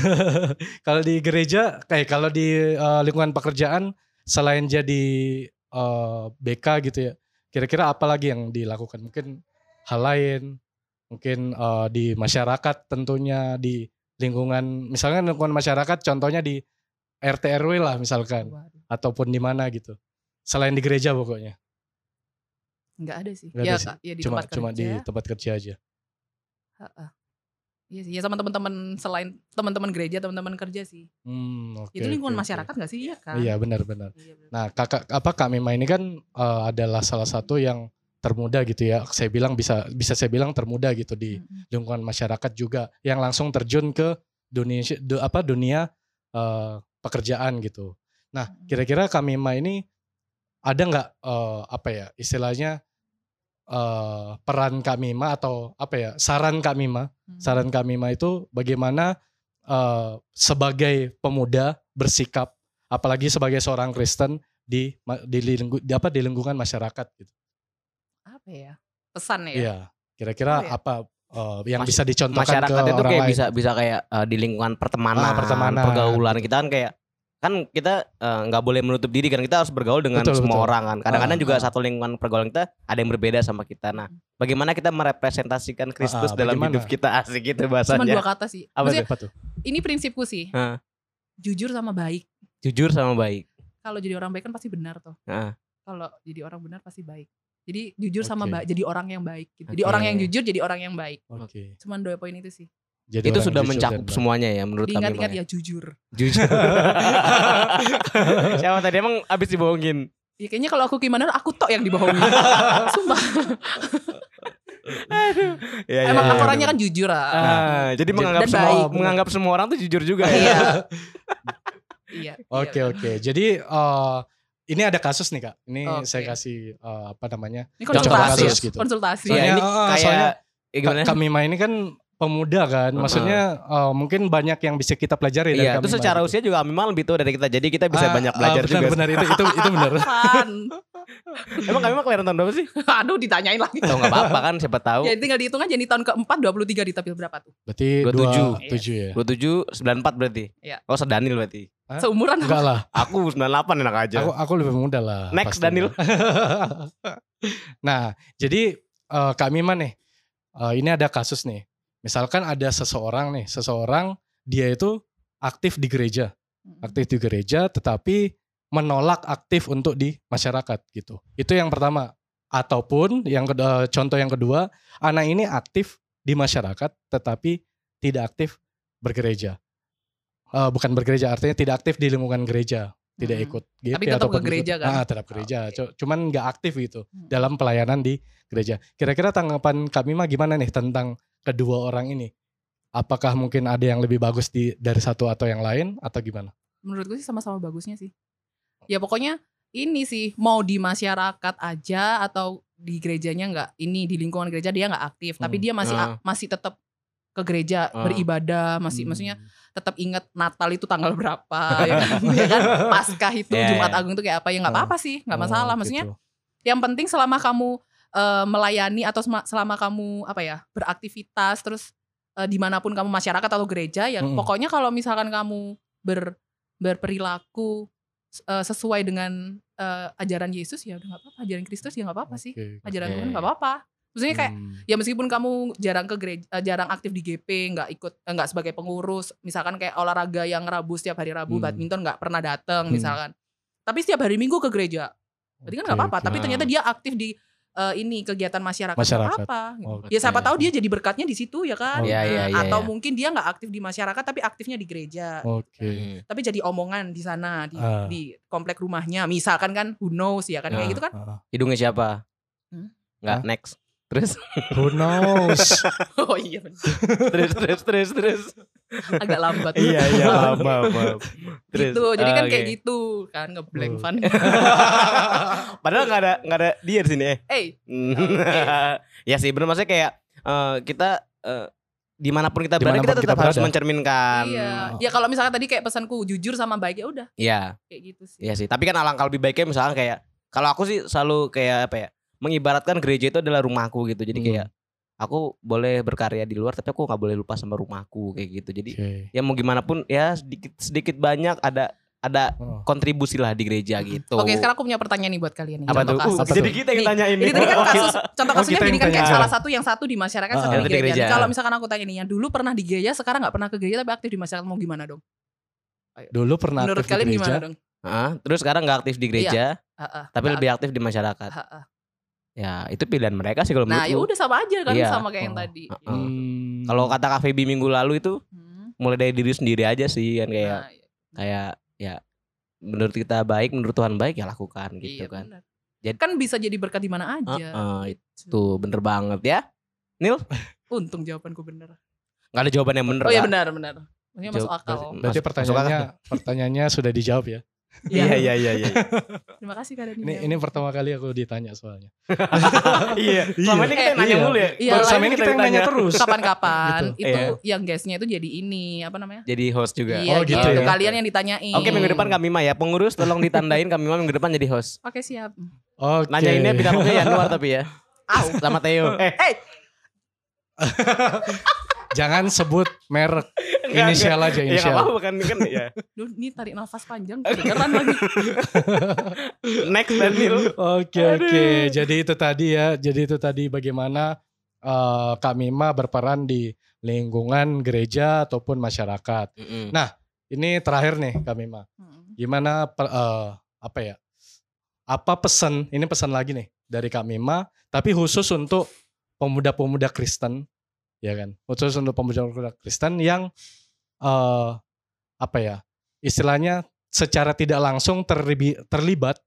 [SPEAKER 3] kalau di gereja kayak kalau di eh, lingkungan pekerjaan selain jadi eh, BK gitu ya. Kira-kira apa lagi yang dilakukan? Mungkin hal lain, mungkin eh, di masyarakat tentunya di lingkungan misalnya lingkungan masyarakat contohnya di RT RW lah misalkan
[SPEAKER 5] Waduh,
[SPEAKER 3] ataupun di mana gitu. Selain di gereja pokoknya.
[SPEAKER 5] Nggak ada sih.
[SPEAKER 3] Nggak
[SPEAKER 5] ya,
[SPEAKER 3] ada sih.
[SPEAKER 5] Kak, ya di
[SPEAKER 3] cuma
[SPEAKER 5] tempat
[SPEAKER 3] cuma di
[SPEAKER 5] kerja.
[SPEAKER 3] tempat kerja aja.
[SPEAKER 5] Heeh. Iya sih, ya sama teman-teman selain teman-teman gereja, teman-teman kerja sih.
[SPEAKER 3] Hmm, oke.
[SPEAKER 5] itu lingkungan
[SPEAKER 3] oke, oke.
[SPEAKER 5] masyarakat nggak sih? Iya kan?
[SPEAKER 3] Iya benar-benar.
[SPEAKER 5] Iya, benar.
[SPEAKER 3] Nah, kakak apa Kak Mima ini kan eh, adalah salah satu yang termuda gitu ya. Saya bilang bisa bisa saya bilang termuda gitu di
[SPEAKER 5] Mm-mm.
[SPEAKER 3] lingkungan masyarakat juga yang langsung terjun ke dunia du- apa dunia eh, pekerjaan gitu. Nah,
[SPEAKER 5] Mm-mm.
[SPEAKER 3] kira-kira Kak Mima ini ada nggak eh, apa ya istilahnya eh, peran Kak Mima atau apa ya saran Kak Mima
[SPEAKER 5] Mm.
[SPEAKER 3] saran kami mah itu bagaimana eh, sebagai pemuda bersikap apalagi sebagai seorang Kristen di ma- di, lingku- di apa di lingkungan masyarakat gitu.
[SPEAKER 5] apa ya? Pesan ya.
[SPEAKER 3] Iya. Kira-kira
[SPEAKER 5] Oh, iya.
[SPEAKER 3] apa eh, yang
[SPEAKER 4] Mas-
[SPEAKER 3] bisa dicontohkan ke
[SPEAKER 4] Masyarakat itu
[SPEAKER 3] orang
[SPEAKER 4] kayak
[SPEAKER 3] lain?
[SPEAKER 4] bisa bisa kayak eh, di lingkungan pertemanan,
[SPEAKER 3] Ah, pertemanan.
[SPEAKER 4] pergaulan kita kan kayak kan kita eh, nggak boleh menutup diri kan kita harus bergaul dengan
[SPEAKER 3] Betul,
[SPEAKER 4] semua
[SPEAKER 3] betul.
[SPEAKER 4] orang kan. Kadang-kadang
[SPEAKER 3] Ah,
[SPEAKER 4] juga
[SPEAKER 3] ah.
[SPEAKER 4] satu lingkungan pergaulan kita ada yang berbeda sama kita. Nah, bagaimana kita merepresentasikan Kristus
[SPEAKER 3] Ah, ah,
[SPEAKER 4] dalam
[SPEAKER 3] bagaimana?
[SPEAKER 4] hidup kita asik gitu
[SPEAKER 5] Cuma dua
[SPEAKER 4] bahasanya.
[SPEAKER 5] kata sih.
[SPEAKER 4] Apa
[SPEAKER 5] Maksudnya,
[SPEAKER 3] ya. Apa tuh?
[SPEAKER 5] ini prinsipku sih.
[SPEAKER 4] Hah.
[SPEAKER 5] Jujur sama baik.
[SPEAKER 4] Jujur sama baik.
[SPEAKER 5] Kalau jadi orang baik kan pasti benar toh.
[SPEAKER 4] Heeh.
[SPEAKER 5] Kalau jadi orang benar pasti baik. Jadi jujur sama
[SPEAKER 3] Oke.
[SPEAKER 5] baik, jadi orang yang baik. Gitu. Jadi
[SPEAKER 4] Oke.
[SPEAKER 5] orang yang jujur, jadi orang yang baik.
[SPEAKER 3] Oke.
[SPEAKER 5] Cuman dua poin itu sih.
[SPEAKER 3] Jadi
[SPEAKER 4] Itu
[SPEAKER 3] orang
[SPEAKER 4] sudah
[SPEAKER 3] jujur
[SPEAKER 4] mencakup
[SPEAKER 3] dan benar.
[SPEAKER 4] semuanya ya menurut kami.
[SPEAKER 5] Diingat-ingat
[SPEAKER 4] Bang,
[SPEAKER 5] ya jujur.
[SPEAKER 4] Jujur. Siapa tadi emang abis dibohongin?
[SPEAKER 5] Ya kayaknya kalau aku gimana, aku tok yang dibohongi. Sumpah.
[SPEAKER 4] Ya,
[SPEAKER 3] Iya,
[SPEAKER 4] ya,
[SPEAKER 5] Emang
[SPEAKER 4] ya,
[SPEAKER 5] aku
[SPEAKER 4] ya.
[SPEAKER 5] orangnya kan jujur
[SPEAKER 4] Ah,
[SPEAKER 5] ah.
[SPEAKER 3] Nah.
[SPEAKER 4] jadi menganggap
[SPEAKER 5] Dan
[SPEAKER 4] semua
[SPEAKER 5] baik.
[SPEAKER 4] menganggap semua orang tuh jujur juga ya.
[SPEAKER 5] Iya. Iya.
[SPEAKER 3] Oke
[SPEAKER 5] iya.
[SPEAKER 3] oke. Jadi eh, ini ada kasus nih Kak. Ini
[SPEAKER 5] Oke.
[SPEAKER 3] saya kasih eh, apa namanya?
[SPEAKER 5] Ini
[SPEAKER 4] Contoh
[SPEAKER 5] konsultasi.
[SPEAKER 3] kasus gitu.
[SPEAKER 5] Konsultasi.
[SPEAKER 4] Iya,
[SPEAKER 3] Soalnya,
[SPEAKER 4] ini
[SPEAKER 3] ah,
[SPEAKER 4] kayak
[SPEAKER 3] soalnya
[SPEAKER 4] eh, gimana?
[SPEAKER 3] Kak Mima ini kan pemuda kan,
[SPEAKER 4] Heeh.
[SPEAKER 3] maksudnya eh, mungkin banyak yang bisa kita pelajari dari
[SPEAKER 4] Iya,
[SPEAKER 3] Kak
[SPEAKER 4] terus
[SPEAKER 3] Mima
[SPEAKER 4] secara
[SPEAKER 3] gitu.
[SPEAKER 4] usia juga Mima lebih tua dari kita. Jadi kita bisa
[SPEAKER 3] Ah,
[SPEAKER 4] banyak
[SPEAKER 3] ah,
[SPEAKER 4] belajar
[SPEAKER 3] benar,
[SPEAKER 4] juga.
[SPEAKER 3] Benar itu itu itu benar.
[SPEAKER 5] Apaan?
[SPEAKER 4] Emang Mima kelahiran tahun berapa sih?
[SPEAKER 5] Kan. Aduh ditanyain lagi.
[SPEAKER 4] Tahu enggak apa-apa kan siapa tahu.
[SPEAKER 5] Ya tinggal dihitung aja nih tahun keempat 23 ditapil berapa tuh?
[SPEAKER 3] Berarti 27
[SPEAKER 4] 27.
[SPEAKER 3] tujuh
[SPEAKER 4] Iya.
[SPEAKER 3] ya.
[SPEAKER 4] 27 94 berarti.
[SPEAKER 5] Iya.
[SPEAKER 4] Oh, sedanil berarti.
[SPEAKER 3] Hah?
[SPEAKER 5] Seumuran
[SPEAKER 3] Enggak lah,
[SPEAKER 4] Aku 98 enak aja.
[SPEAKER 3] aku aku lebih muda lah.
[SPEAKER 4] Next,
[SPEAKER 3] pastinya.
[SPEAKER 4] Daniel.
[SPEAKER 3] nah, jadi eh, Kak Mima nih, eh, ini ada kasus nih. Misalkan ada seseorang nih, seseorang dia itu aktif di gereja, aktif di gereja, tetapi menolak aktif untuk di masyarakat gitu. Itu yang pertama. Ataupun yang kedua, contoh yang kedua, anak ini aktif di masyarakat, tetapi tidak aktif bergereja. Eh, bukan bergereja, artinya tidak aktif di lingkungan gereja, tidak
[SPEAKER 5] Hmm.
[SPEAKER 3] ikut GP
[SPEAKER 5] Tapi tetap
[SPEAKER 3] ataupun
[SPEAKER 5] ke gereja
[SPEAKER 3] ikut-
[SPEAKER 5] kan?
[SPEAKER 3] Ah, tetap gereja,
[SPEAKER 5] Oke.
[SPEAKER 3] cu- cuman nggak aktif gitu
[SPEAKER 5] Hmm.
[SPEAKER 3] dalam pelayanan di gereja. Kira-kira tanggapan kami mah gimana nih tentang kedua orang ini? Apakah mungkin ada yang lebih bagus di dari satu atau yang lain atau gimana?
[SPEAKER 5] Menurut gue sih sama-sama bagusnya sih. Ya pokoknya ini sih mau di masyarakat aja atau di gerejanya nggak ini di lingkungan gereja dia nggak aktif tapi
[SPEAKER 3] Hmm.
[SPEAKER 5] dia masih
[SPEAKER 4] Ah.
[SPEAKER 5] masih tetap ke gereja
[SPEAKER 4] Ah.
[SPEAKER 5] beribadah masih maksudnya
[SPEAKER 3] Hmm.
[SPEAKER 5] tetap ingat Natal itu tanggal berapa ya kan, ya kan? Paskah itu
[SPEAKER 4] Iya,
[SPEAKER 5] Jumat
[SPEAKER 4] iya.
[SPEAKER 5] Agung itu kayak apa ya nggak
[SPEAKER 3] Ah.
[SPEAKER 5] apa-apa sih nggak
[SPEAKER 3] Oh,
[SPEAKER 5] masalah maksudnya
[SPEAKER 3] gitu.
[SPEAKER 5] yang penting selama kamu eh, melayani atau sema- selama kamu apa ya beraktivitas terus eh, dimanapun kamu masyarakat atau gereja ya
[SPEAKER 3] Mm-mm.
[SPEAKER 5] pokoknya kalau misalkan kamu ber berperilaku eh, sesuai dengan eh, ajaran Yesus ya udah nggak apa-apa ajaran Kristus ya nggak apa-apa sih
[SPEAKER 3] Oke.
[SPEAKER 5] ajaran
[SPEAKER 4] Oke.
[SPEAKER 5] Tuhan nggak apa-apa maksudnya kayak
[SPEAKER 3] Hmm.
[SPEAKER 5] ya meskipun kamu jarang ke gereja eh, jarang aktif di GP nggak ikut eh, nggak sebagai pengurus misalkan kayak olahraga yang Rabu setiap hari Rabu
[SPEAKER 3] Hmm.
[SPEAKER 5] badminton nggak pernah
[SPEAKER 3] Hmm.
[SPEAKER 5] datang misalkan tapi setiap hari Minggu ke gereja berarti kan nggak
[SPEAKER 3] Oke,
[SPEAKER 5] apa-apa
[SPEAKER 3] oke.
[SPEAKER 5] tapi ternyata dia aktif di eh, ini kegiatan masyarakat nggak
[SPEAKER 3] Masyarakat. Oh,
[SPEAKER 5] apa-apa
[SPEAKER 3] Oke.
[SPEAKER 5] ya siapa tahu dia jadi berkatnya di situ ya
[SPEAKER 3] Oh,
[SPEAKER 5] kan
[SPEAKER 4] iya, iya, iya, iya.
[SPEAKER 5] atau mungkin dia nggak aktif di masyarakat tapi aktifnya di gereja
[SPEAKER 3] Oke.
[SPEAKER 4] Hmm.
[SPEAKER 5] tapi jadi omongan di sana di,
[SPEAKER 3] Oh. Ah.
[SPEAKER 5] di komplek rumahnya misalkan kan who knows ya kan
[SPEAKER 4] Ah.
[SPEAKER 5] kayak gitu kan
[SPEAKER 3] Ah,
[SPEAKER 4] Hidungnya siapa?
[SPEAKER 5] Hmm?
[SPEAKER 3] Hah?
[SPEAKER 4] Enggak, next. Terus,
[SPEAKER 3] Who knows?
[SPEAKER 5] oh iya bener.
[SPEAKER 4] terus, terus, terus, terus.
[SPEAKER 5] agak lambat
[SPEAKER 2] iya iya paham paham.
[SPEAKER 4] terus.
[SPEAKER 5] gitu jadi
[SPEAKER 4] Ah, Oke.
[SPEAKER 5] kan
[SPEAKER 4] Hmm.
[SPEAKER 5] kayak gitu kan ngeblank fun
[SPEAKER 4] Padahal nggak ada nggak ada dia di sini eh.
[SPEAKER 5] eh
[SPEAKER 4] ya sih benar maksudnya kayak eh, kita eh, dimanapun kita berada
[SPEAKER 3] Dimanapun
[SPEAKER 4] kita tetap
[SPEAKER 3] kita
[SPEAKER 4] harus
[SPEAKER 3] berada.
[SPEAKER 4] mencerminkan.
[SPEAKER 5] iya ya kalau misalnya tadi kayak pesanku jujur sama baik ya udah
[SPEAKER 4] Iya,
[SPEAKER 5] kayak gitu sih
[SPEAKER 4] iya sih. Tapi kan alangkah lebih baiknya misalkan kayak kalau aku sih selalu kayak apa ya? Mengibaratkan gereja itu adalah rumahku gitu. Jadi
[SPEAKER 3] Hmm.
[SPEAKER 4] kayak aku boleh berkarya di luar tapi aku nggak boleh lupa sama rumahku kayak gitu. Jadi
[SPEAKER 3] Oke.
[SPEAKER 4] ya mau gimana pun ya sedikit sedikit banyak ada ada
[SPEAKER 3] Oh.
[SPEAKER 4] kontribusi lah di gereja gitu.
[SPEAKER 5] Oke, sekarang aku punya pertanyaan nih buat kalian nih.
[SPEAKER 4] apa
[SPEAKER 5] contoh
[SPEAKER 4] tuh?
[SPEAKER 5] kasus.
[SPEAKER 4] Uh, jadi kita yang ya.
[SPEAKER 5] Nih,
[SPEAKER 4] tanya ini.
[SPEAKER 5] Jadi tadi kan kasus, contoh
[SPEAKER 2] Oh,
[SPEAKER 5] kasusnya
[SPEAKER 2] kita
[SPEAKER 5] jadi
[SPEAKER 2] yang
[SPEAKER 5] kan kayak
[SPEAKER 2] tanya.
[SPEAKER 5] salah satu yang satu di masyarakat,
[SPEAKER 2] Ah,
[SPEAKER 5] satu di
[SPEAKER 4] satu di
[SPEAKER 5] gereja.
[SPEAKER 4] gereja.
[SPEAKER 5] Kalau misalkan aku tanya nih, yang dulu pernah di gereja, sekarang nggak pernah ke gereja tapi aktif di masyarakat mau gimana dong?
[SPEAKER 3] Dulu pernah aktif
[SPEAKER 5] Menurut
[SPEAKER 3] di
[SPEAKER 5] kalian
[SPEAKER 3] gereja.
[SPEAKER 5] gimana dong?
[SPEAKER 4] Heeh, terus sekarang nggak aktif di gereja,
[SPEAKER 5] Heeh,
[SPEAKER 4] tapi
[SPEAKER 5] Iya. nggak
[SPEAKER 4] lebih aktif di masyarakat.
[SPEAKER 5] aktif. Heeh.
[SPEAKER 4] Ya, itu pilihan mereka sih kalau
[SPEAKER 5] Nah, ya
[SPEAKER 4] menurut
[SPEAKER 5] udah sama aja kan
[SPEAKER 4] Iya.
[SPEAKER 5] sama kayak yang
[SPEAKER 3] Oh.
[SPEAKER 5] tadi.
[SPEAKER 4] Heeh.
[SPEAKER 3] Hmm.
[SPEAKER 4] Kalau kata Kak Febi minggu lalu itu
[SPEAKER 5] Hmm.
[SPEAKER 4] mulai dari diri sendiri aja sih kan kayak
[SPEAKER 5] Nah,
[SPEAKER 4] kayak ya menurut kita baik, menurut Tuhan baik ya lakukan gitu
[SPEAKER 5] iya,
[SPEAKER 4] kan.
[SPEAKER 5] benar.
[SPEAKER 4] Jadi-
[SPEAKER 5] kan bisa jadi berkat di mana aja.
[SPEAKER 4] Heeh,
[SPEAKER 5] gitu.
[SPEAKER 4] Tuh bener banget ya.
[SPEAKER 5] Untung jawabanku benar.
[SPEAKER 4] Nggak ada jawaban yang bener.
[SPEAKER 5] Oh iya
[SPEAKER 4] Kak.
[SPEAKER 5] benar benar. Maksudnya masuk
[SPEAKER 4] Jawab-
[SPEAKER 5] akal.
[SPEAKER 4] berarti-
[SPEAKER 3] Berarti
[SPEAKER 4] Masuk-
[SPEAKER 3] pertanyaannya pertanyaannya sudah dijawab ya.
[SPEAKER 5] Iya.
[SPEAKER 2] iya iya iya.
[SPEAKER 5] Terima kasih kalian
[SPEAKER 3] Ini ini pertama kali aku ditanya soalnya.
[SPEAKER 2] Iya.
[SPEAKER 4] Selama ini kita yang nanya
[SPEAKER 3] Iya.
[SPEAKER 4] mulu ya.
[SPEAKER 5] Iya,
[SPEAKER 4] Baru
[SPEAKER 5] lah,
[SPEAKER 4] selama ini kita yang nanya terus.
[SPEAKER 3] terus.
[SPEAKER 5] kapan-kapan
[SPEAKER 4] Gitu.
[SPEAKER 5] itu
[SPEAKER 4] Iya.
[SPEAKER 5] yang guestnya itu jadi ini apa namanya?
[SPEAKER 4] Jadi host juga.
[SPEAKER 5] Iya,
[SPEAKER 3] Oh,
[SPEAKER 5] gitu.
[SPEAKER 3] gitu
[SPEAKER 4] ya.
[SPEAKER 5] Kalian yang ditanyain.
[SPEAKER 4] Oke minggu depan Kak Mima ya Pengurus tolong ditandain Kak Mima minggu depan jadi host
[SPEAKER 5] Oke, siap.
[SPEAKER 3] Oke.
[SPEAKER 4] Nanyainnya bintang tamunya Januar tapi ya
[SPEAKER 5] Au.
[SPEAKER 4] Sama Theo Eh
[SPEAKER 3] Jangan sebut merek,
[SPEAKER 4] enggak.
[SPEAKER 3] inisial aja
[SPEAKER 4] Ya nggak
[SPEAKER 3] inisial.
[SPEAKER 4] apa-apa kan, kan ya.
[SPEAKER 5] Duh, ini tarik nafas panjang. Kedengeran lagi.
[SPEAKER 4] Next Daniel.
[SPEAKER 3] Oke oke. Jadi itu tadi ya. Jadi itu tadi bagaimana eh Kak Mima berperan di lingkungan gereja ataupun masyarakat. Ini terakhir nih Kak Mima.
[SPEAKER 5] Hmm.
[SPEAKER 3] gimana per- eh, apa ya apa pesan ini pesan lagi nih dari Kak Mima tapi khusus untuk pemuda-pemuda Kristen ya kan khusus untuk pemuda-pemuda Kristen yang eh apa ya istilahnya secara tidak langsung terlibi- terlibat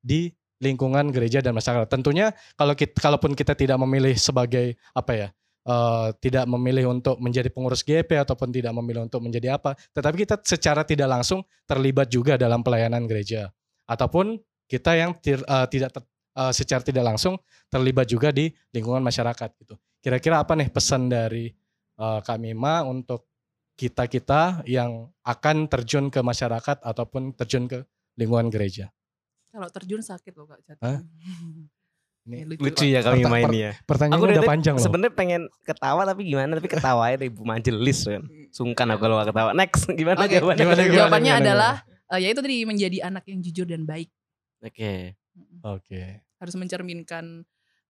[SPEAKER 3] di lingkungan gereja dan masyarakat tentunya kalau kita kalaupun kita tidak memilih sebagai apa ya eh, tidak memilih untuk menjadi pengurus GP ataupun tidak memilih untuk menjadi apa tetapi kita secara tidak langsung terlibat juga dalam pelayanan gereja ataupun kita yang tir- eh, tidak ter- eh, secara tidak langsung terlibat juga di lingkungan masyarakat gitu. Kira-kira apa nih pesan dari eh, Kak Mima untuk kita-kita yang akan terjun ke masyarakat ataupun terjun ke lingkungan gereja?
[SPEAKER 5] Kalau terjun sakit loh Kak jatuh.
[SPEAKER 3] Hah?
[SPEAKER 5] Ini lucu.
[SPEAKER 4] Lucu ya kami main ini ya.
[SPEAKER 3] Pertanyaannya
[SPEAKER 4] Aku
[SPEAKER 3] udah,
[SPEAKER 4] udah-
[SPEAKER 3] panjang loh.
[SPEAKER 4] Sebenarnya pengen ketawa tapi gimana? Tapi ketawa ya ibu majelis kan. Sungkan aku kalau gak ketawa. Next gimana
[SPEAKER 5] Oke.
[SPEAKER 4] jawabannya?
[SPEAKER 3] Gimana, gimana,
[SPEAKER 5] Jawabannya
[SPEAKER 3] gimana,
[SPEAKER 5] adalah eh, ya itu tadi menjadi anak yang jujur dan baik.
[SPEAKER 4] Oke.
[SPEAKER 5] Mm-mm.
[SPEAKER 3] Oke,
[SPEAKER 5] Harus mencerminkan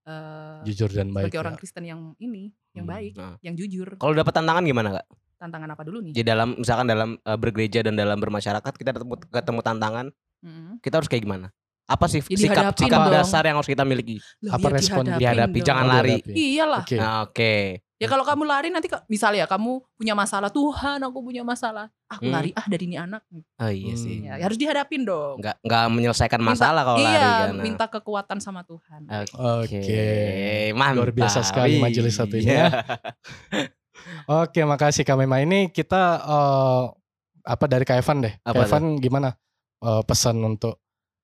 [SPEAKER 5] eh
[SPEAKER 3] jujur dan baik.
[SPEAKER 5] sebagai
[SPEAKER 3] ya.
[SPEAKER 5] orang Kristen yang ini, yang
[SPEAKER 3] Hmm.
[SPEAKER 5] baik,
[SPEAKER 4] Nah.
[SPEAKER 5] yang jujur.
[SPEAKER 4] Kalau dapat tantangan gimana kak?
[SPEAKER 5] Tantangan apa dulu nih?
[SPEAKER 4] Jadi dalam misalkan dalam eh, bergereja dan dalam bermasyarakat kita ketemu, ketemu tantangan,
[SPEAKER 5] Mm-mm.
[SPEAKER 4] kita harus kayak gimana? Apa sih
[SPEAKER 5] Ya,
[SPEAKER 4] sikap
[SPEAKER 5] dihadapin
[SPEAKER 4] sikap
[SPEAKER 5] dong.
[SPEAKER 4] dasar yang harus kita miliki?
[SPEAKER 5] Loh,
[SPEAKER 3] Apa
[SPEAKER 5] ya
[SPEAKER 3] respon
[SPEAKER 5] dihadapin
[SPEAKER 4] dihadapi?
[SPEAKER 5] dong.
[SPEAKER 4] Jangan
[SPEAKER 3] Ada
[SPEAKER 4] lari.
[SPEAKER 3] tapi.
[SPEAKER 5] Iyalah.
[SPEAKER 3] Oke.
[SPEAKER 4] Nah, Oke.
[SPEAKER 5] Ya kalau kamu lari nanti ka- misalnya ya kamu punya masalah, Tuhan aku punya masalah. Aku
[SPEAKER 4] Hmm.
[SPEAKER 5] lari ah dari ini anak.
[SPEAKER 4] Oh iya
[SPEAKER 3] Hmm.
[SPEAKER 4] sih.
[SPEAKER 5] Ya, harus dihadapin dong.
[SPEAKER 4] Hmm. Nggak nggak menyelesaikan masalah kalau
[SPEAKER 5] iya,
[SPEAKER 4] lari kan.
[SPEAKER 5] minta kekuatan sama Tuhan.
[SPEAKER 3] Oke.
[SPEAKER 4] mantap. Iya.
[SPEAKER 3] Luar biasa sekali majelis satu ini ya. Oke, makasih Kak Mema. Ini kita eh, apa dari Kak Evan deh.
[SPEAKER 4] Apa
[SPEAKER 3] Kak Evan gimana eh, pesan untuk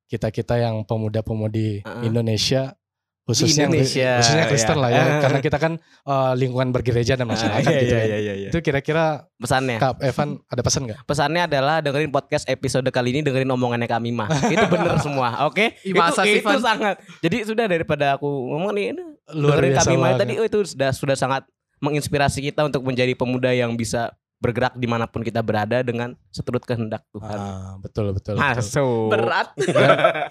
[SPEAKER 3] kita-kita yang pemuda-pemudi
[SPEAKER 4] Uh-uh.
[SPEAKER 3] Indonesia khususnya
[SPEAKER 4] Indonesia,
[SPEAKER 3] khususnya Kristen
[SPEAKER 4] ya.
[SPEAKER 3] lah ya, karena kita kan eh, lingkungan bergereja dan masyarakat
[SPEAKER 2] Iya
[SPEAKER 3] gitu
[SPEAKER 2] iya
[SPEAKER 3] kan.
[SPEAKER 2] iya iya.
[SPEAKER 3] Itu kira-kira
[SPEAKER 4] Pesannya.
[SPEAKER 3] Kak Evan ada pesan nggak?
[SPEAKER 4] Pesannya adalah dengerin podcast episode kali ini dengerin omongannya kami mah. Itu bener semua, oke?
[SPEAKER 5] Ih,
[SPEAKER 4] Itu,
[SPEAKER 5] masa sih,
[SPEAKER 4] itu
[SPEAKER 5] Van?
[SPEAKER 4] sangat. Jadi sudah daripada aku ngomong nih, ini
[SPEAKER 3] Luar
[SPEAKER 4] dengerin
[SPEAKER 3] biasa
[SPEAKER 4] kami mah
[SPEAKER 3] banget.
[SPEAKER 4] tadi oh, itu sudah sudah sangat menginspirasi kita untuk menjadi pemuda yang bisa bergerak dimanapun kita berada dengan seturut kehendak Tuhan.
[SPEAKER 3] Ah, betul betul. betul.
[SPEAKER 4] Masuk.
[SPEAKER 5] Berat.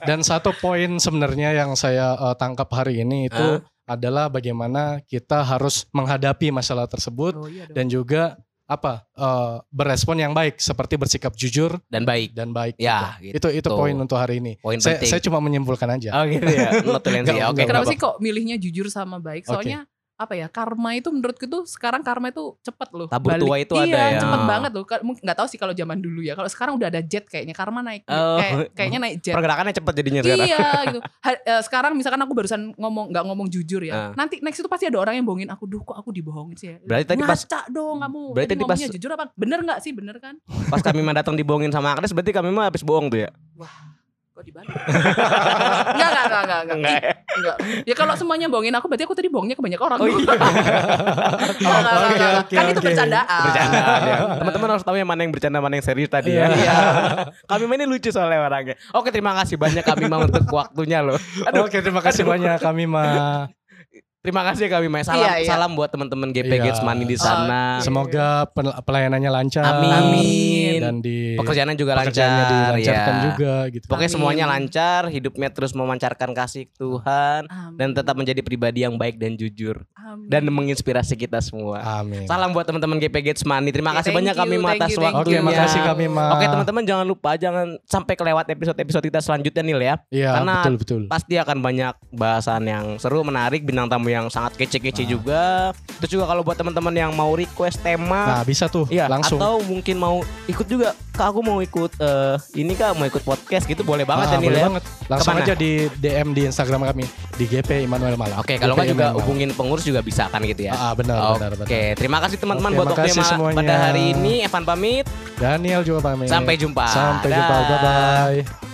[SPEAKER 3] Dan satu poin sebenarnya yang saya eh, tangkap hari ini itu
[SPEAKER 4] Ah.
[SPEAKER 3] adalah bagaimana kita harus menghadapi masalah tersebut
[SPEAKER 5] Oh, iya dong.
[SPEAKER 3] dan juga apa eh, berespon yang baik seperti bersikap jujur
[SPEAKER 4] Dan baik.
[SPEAKER 3] dan baik.
[SPEAKER 4] Ya,
[SPEAKER 3] gitu. itu itu
[SPEAKER 4] gitu.
[SPEAKER 3] poin untuk hari ini.
[SPEAKER 4] Poin
[SPEAKER 3] Saya,
[SPEAKER 4] penting.
[SPEAKER 3] saya cuma menyimpulkan aja.
[SPEAKER 4] Oh gitu ya. Notulensi.
[SPEAKER 3] Nggak,
[SPEAKER 4] Oke.
[SPEAKER 3] nggak
[SPEAKER 5] Kenapa
[SPEAKER 4] nggak
[SPEAKER 5] sih kok milihnya jujur sama baik?
[SPEAKER 3] Oke.
[SPEAKER 5] Soalnya apa ya karma itu menurutku tuh sekarang karma itu cepet loh
[SPEAKER 4] Tabur tua itu ada ya.
[SPEAKER 5] iya, cepet banget loh Ka- mungkin nggak tahu sih kalau zaman dulu ya kalau sekarang udah ada jet kayaknya karma naik
[SPEAKER 4] Oh.
[SPEAKER 5] kayak kayaknya naik jet
[SPEAKER 4] Pergerakannya cepat jadinya sekarang.
[SPEAKER 5] Iya gitu. Ha- eh, sekarang misalkan aku barusan ngomong nggak ngomong jujur ya. Nanti next itu pasti ada orang yang bohongin aku. Duh kok aku dibohongin sih ya.
[SPEAKER 4] Ah. Berarti tadi pas- Hmm,
[SPEAKER 5] Ngaca dong kamu.
[SPEAKER 4] Berarti tadi pas-
[SPEAKER 5] ngomongnya jujur apa? Bener nggak sih? Bener kan?
[SPEAKER 4] Pas kami mah datang dibohongin sama Agnes berarti kami mah habis bohong tuh ya.
[SPEAKER 5] Kok dibalik? Enggak, enggak, enggak, enggak, enggak.
[SPEAKER 4] Enggak. ya?
[SPEAKER 5] Enggak. Ya kalau semuanya bohongin aku berarti aku tadi bohongnya ke banyak orang.
[SPEAKER 4] Oh iya.
[SPEAKER 5] Enggak, enggak, enggak, enggak.
[SPEAKER 3] oke,
[SPEAKER 5] Kan itu
[SPEAKER 3] oke.
[SPEAKER 5] bercandaan.
[SPEAKER 3] Ah.
[SPEAKER 4] Bercandaan ya. Teman-teman harus tahu yang mana yang bercanda, mana yang serius tadi ya. Iya. kami mah ini lucu soalnya orangnya. Oke, terima kasih banyak kami mah untuk waktunya loh. Aduh,
[SPEAKER 3] Oke, terima kasih
[SPEAKER 4] aduh.
[SPEAKER 3] banyak kami Ma.
[SPEAKER 4] Terima kasih kami Mai. Salam
[SPEAKER 5] Iya, iya.
[SPEAKER 4] salam buat teman-teman GP
[SPEAKER 3] Iya.
[SPEAKER 4] Gates Money di sana.
[SPEAKER 5] Oke.
[SPEAKER 3] Semoga pel- pelayanannya lancar.
[SPEAKER 4] Amin.
[SPEAKER 5] Amin.
[SPEAKER 3] Dan di
[SPEAKER 4] Pekerjaannya juga
[SPEAKER 3] pekerjaannya
[SPEAKER 4] lancar
[SPEAKER 3] dilancarkan
[SPEAKER 4] ya.
[SPEAKER 3] juga gitu.
[SPEAKER 4] Pokoknya
[SPEAKER 5] Amin.
[SPEAKER 4] semuanya lancar, hidupnya terus memancarkan kasih Tuhan
[SPEAKER 5] Amin.
[SPEAKER 4] dan tetap menjadi pribadi yang baik dan jujur
[SPEAKER 5] Amin.
[SPEAKER 4] dan menginspirasi kita semua.
[SPEAKER 3] Amin.
[SPEAKER 4] Salam buat teman-teman GP Gates Money. Terima
[SPEAKER 5] Oke,
[SPEAKER 4] kasih
[SPEAKER 5] Iya, thank
[SPEAKER 4] banyak
[SPEAKER 5] you,
[SPEAKER 4] kami
[SPEAKER 5] thank
[SPEAKER 4] atas
[SPEAKER 5] you, thank
[SPEAKER 3] Oke,
[SPEAKER 4] waktunya.
[SPEAKER 5] you.
[SPEAKER 3] makasih kami Ma.
[SPEAKER 4] ya. Oke, teman-teman jangan lupa jangan sampai kelewat episode-episode kita selanjutnya nih ya.
[SPEAKER 3] Iya,
[SPEAKER 4] karena
[SPEAKER 3] betul betul.
[SPEAKER 4] Pasti akan banyak bahasan yang seru, menarik, bintang tamu yang
[SPEAKER 3] Nah.
[SPEAKER 4] sangat kece-kece juga. Terus juga kalau buat teman-teman yang mau request
[SPEAKER 3] Nah,
[SPEAKER 4] tema
[SPEAKER 3] bisa tuh
[SPEAKER 4] Iya,
[SPEAKER 3] langsung.
[SPEAKER 4] atau mungkin mau ikut juga. Kak, aku mau ikut eh, ini Kak, mau ikut podcast gitu boleh banget
[SPEAKER 3] Ah,
[SPEAKER 4] ya Nil
[SPEAKER 3] boleh
[SPEAKER 4] ya.
[SPEAKER 3] banget. Langsung
[SPEAKER 4] Kemana?
[SPEAKER 3] aja di DM di Instagram kami di GP Immanuel Malang.
[SPEAKER 4] Oke, kalau nggak
[SPEAKER 3] GP
[SPEAKER 4] juga
[SPEAKER 3] Immanuel Malang.
[SPEAKER 4] hubungin pengurus juga bisa kan gitu ya.
[SPEAKER 3] Ah, ah, benar, benar, benar.
[SPEAKER 4] Oke, terima kasih teman-teman
[SPEAKER 3] Oke,
[SPEAKER 4] buat waktunya
[SPEAKER 3] makasih
[SPEAKER 4] ma-
[SPEAKER 3] semuanya.
[SPEAKER 4] pada hari ini. Evan pamit,
[SPEAKER 3] Daniel juga pamit.
[SPEAKER 4] sampai jumpa.
[SPEAKER 3] Sampai jumpa. Bye
[SPEAKER 4] Dah.
[SPEAKER 3] bye.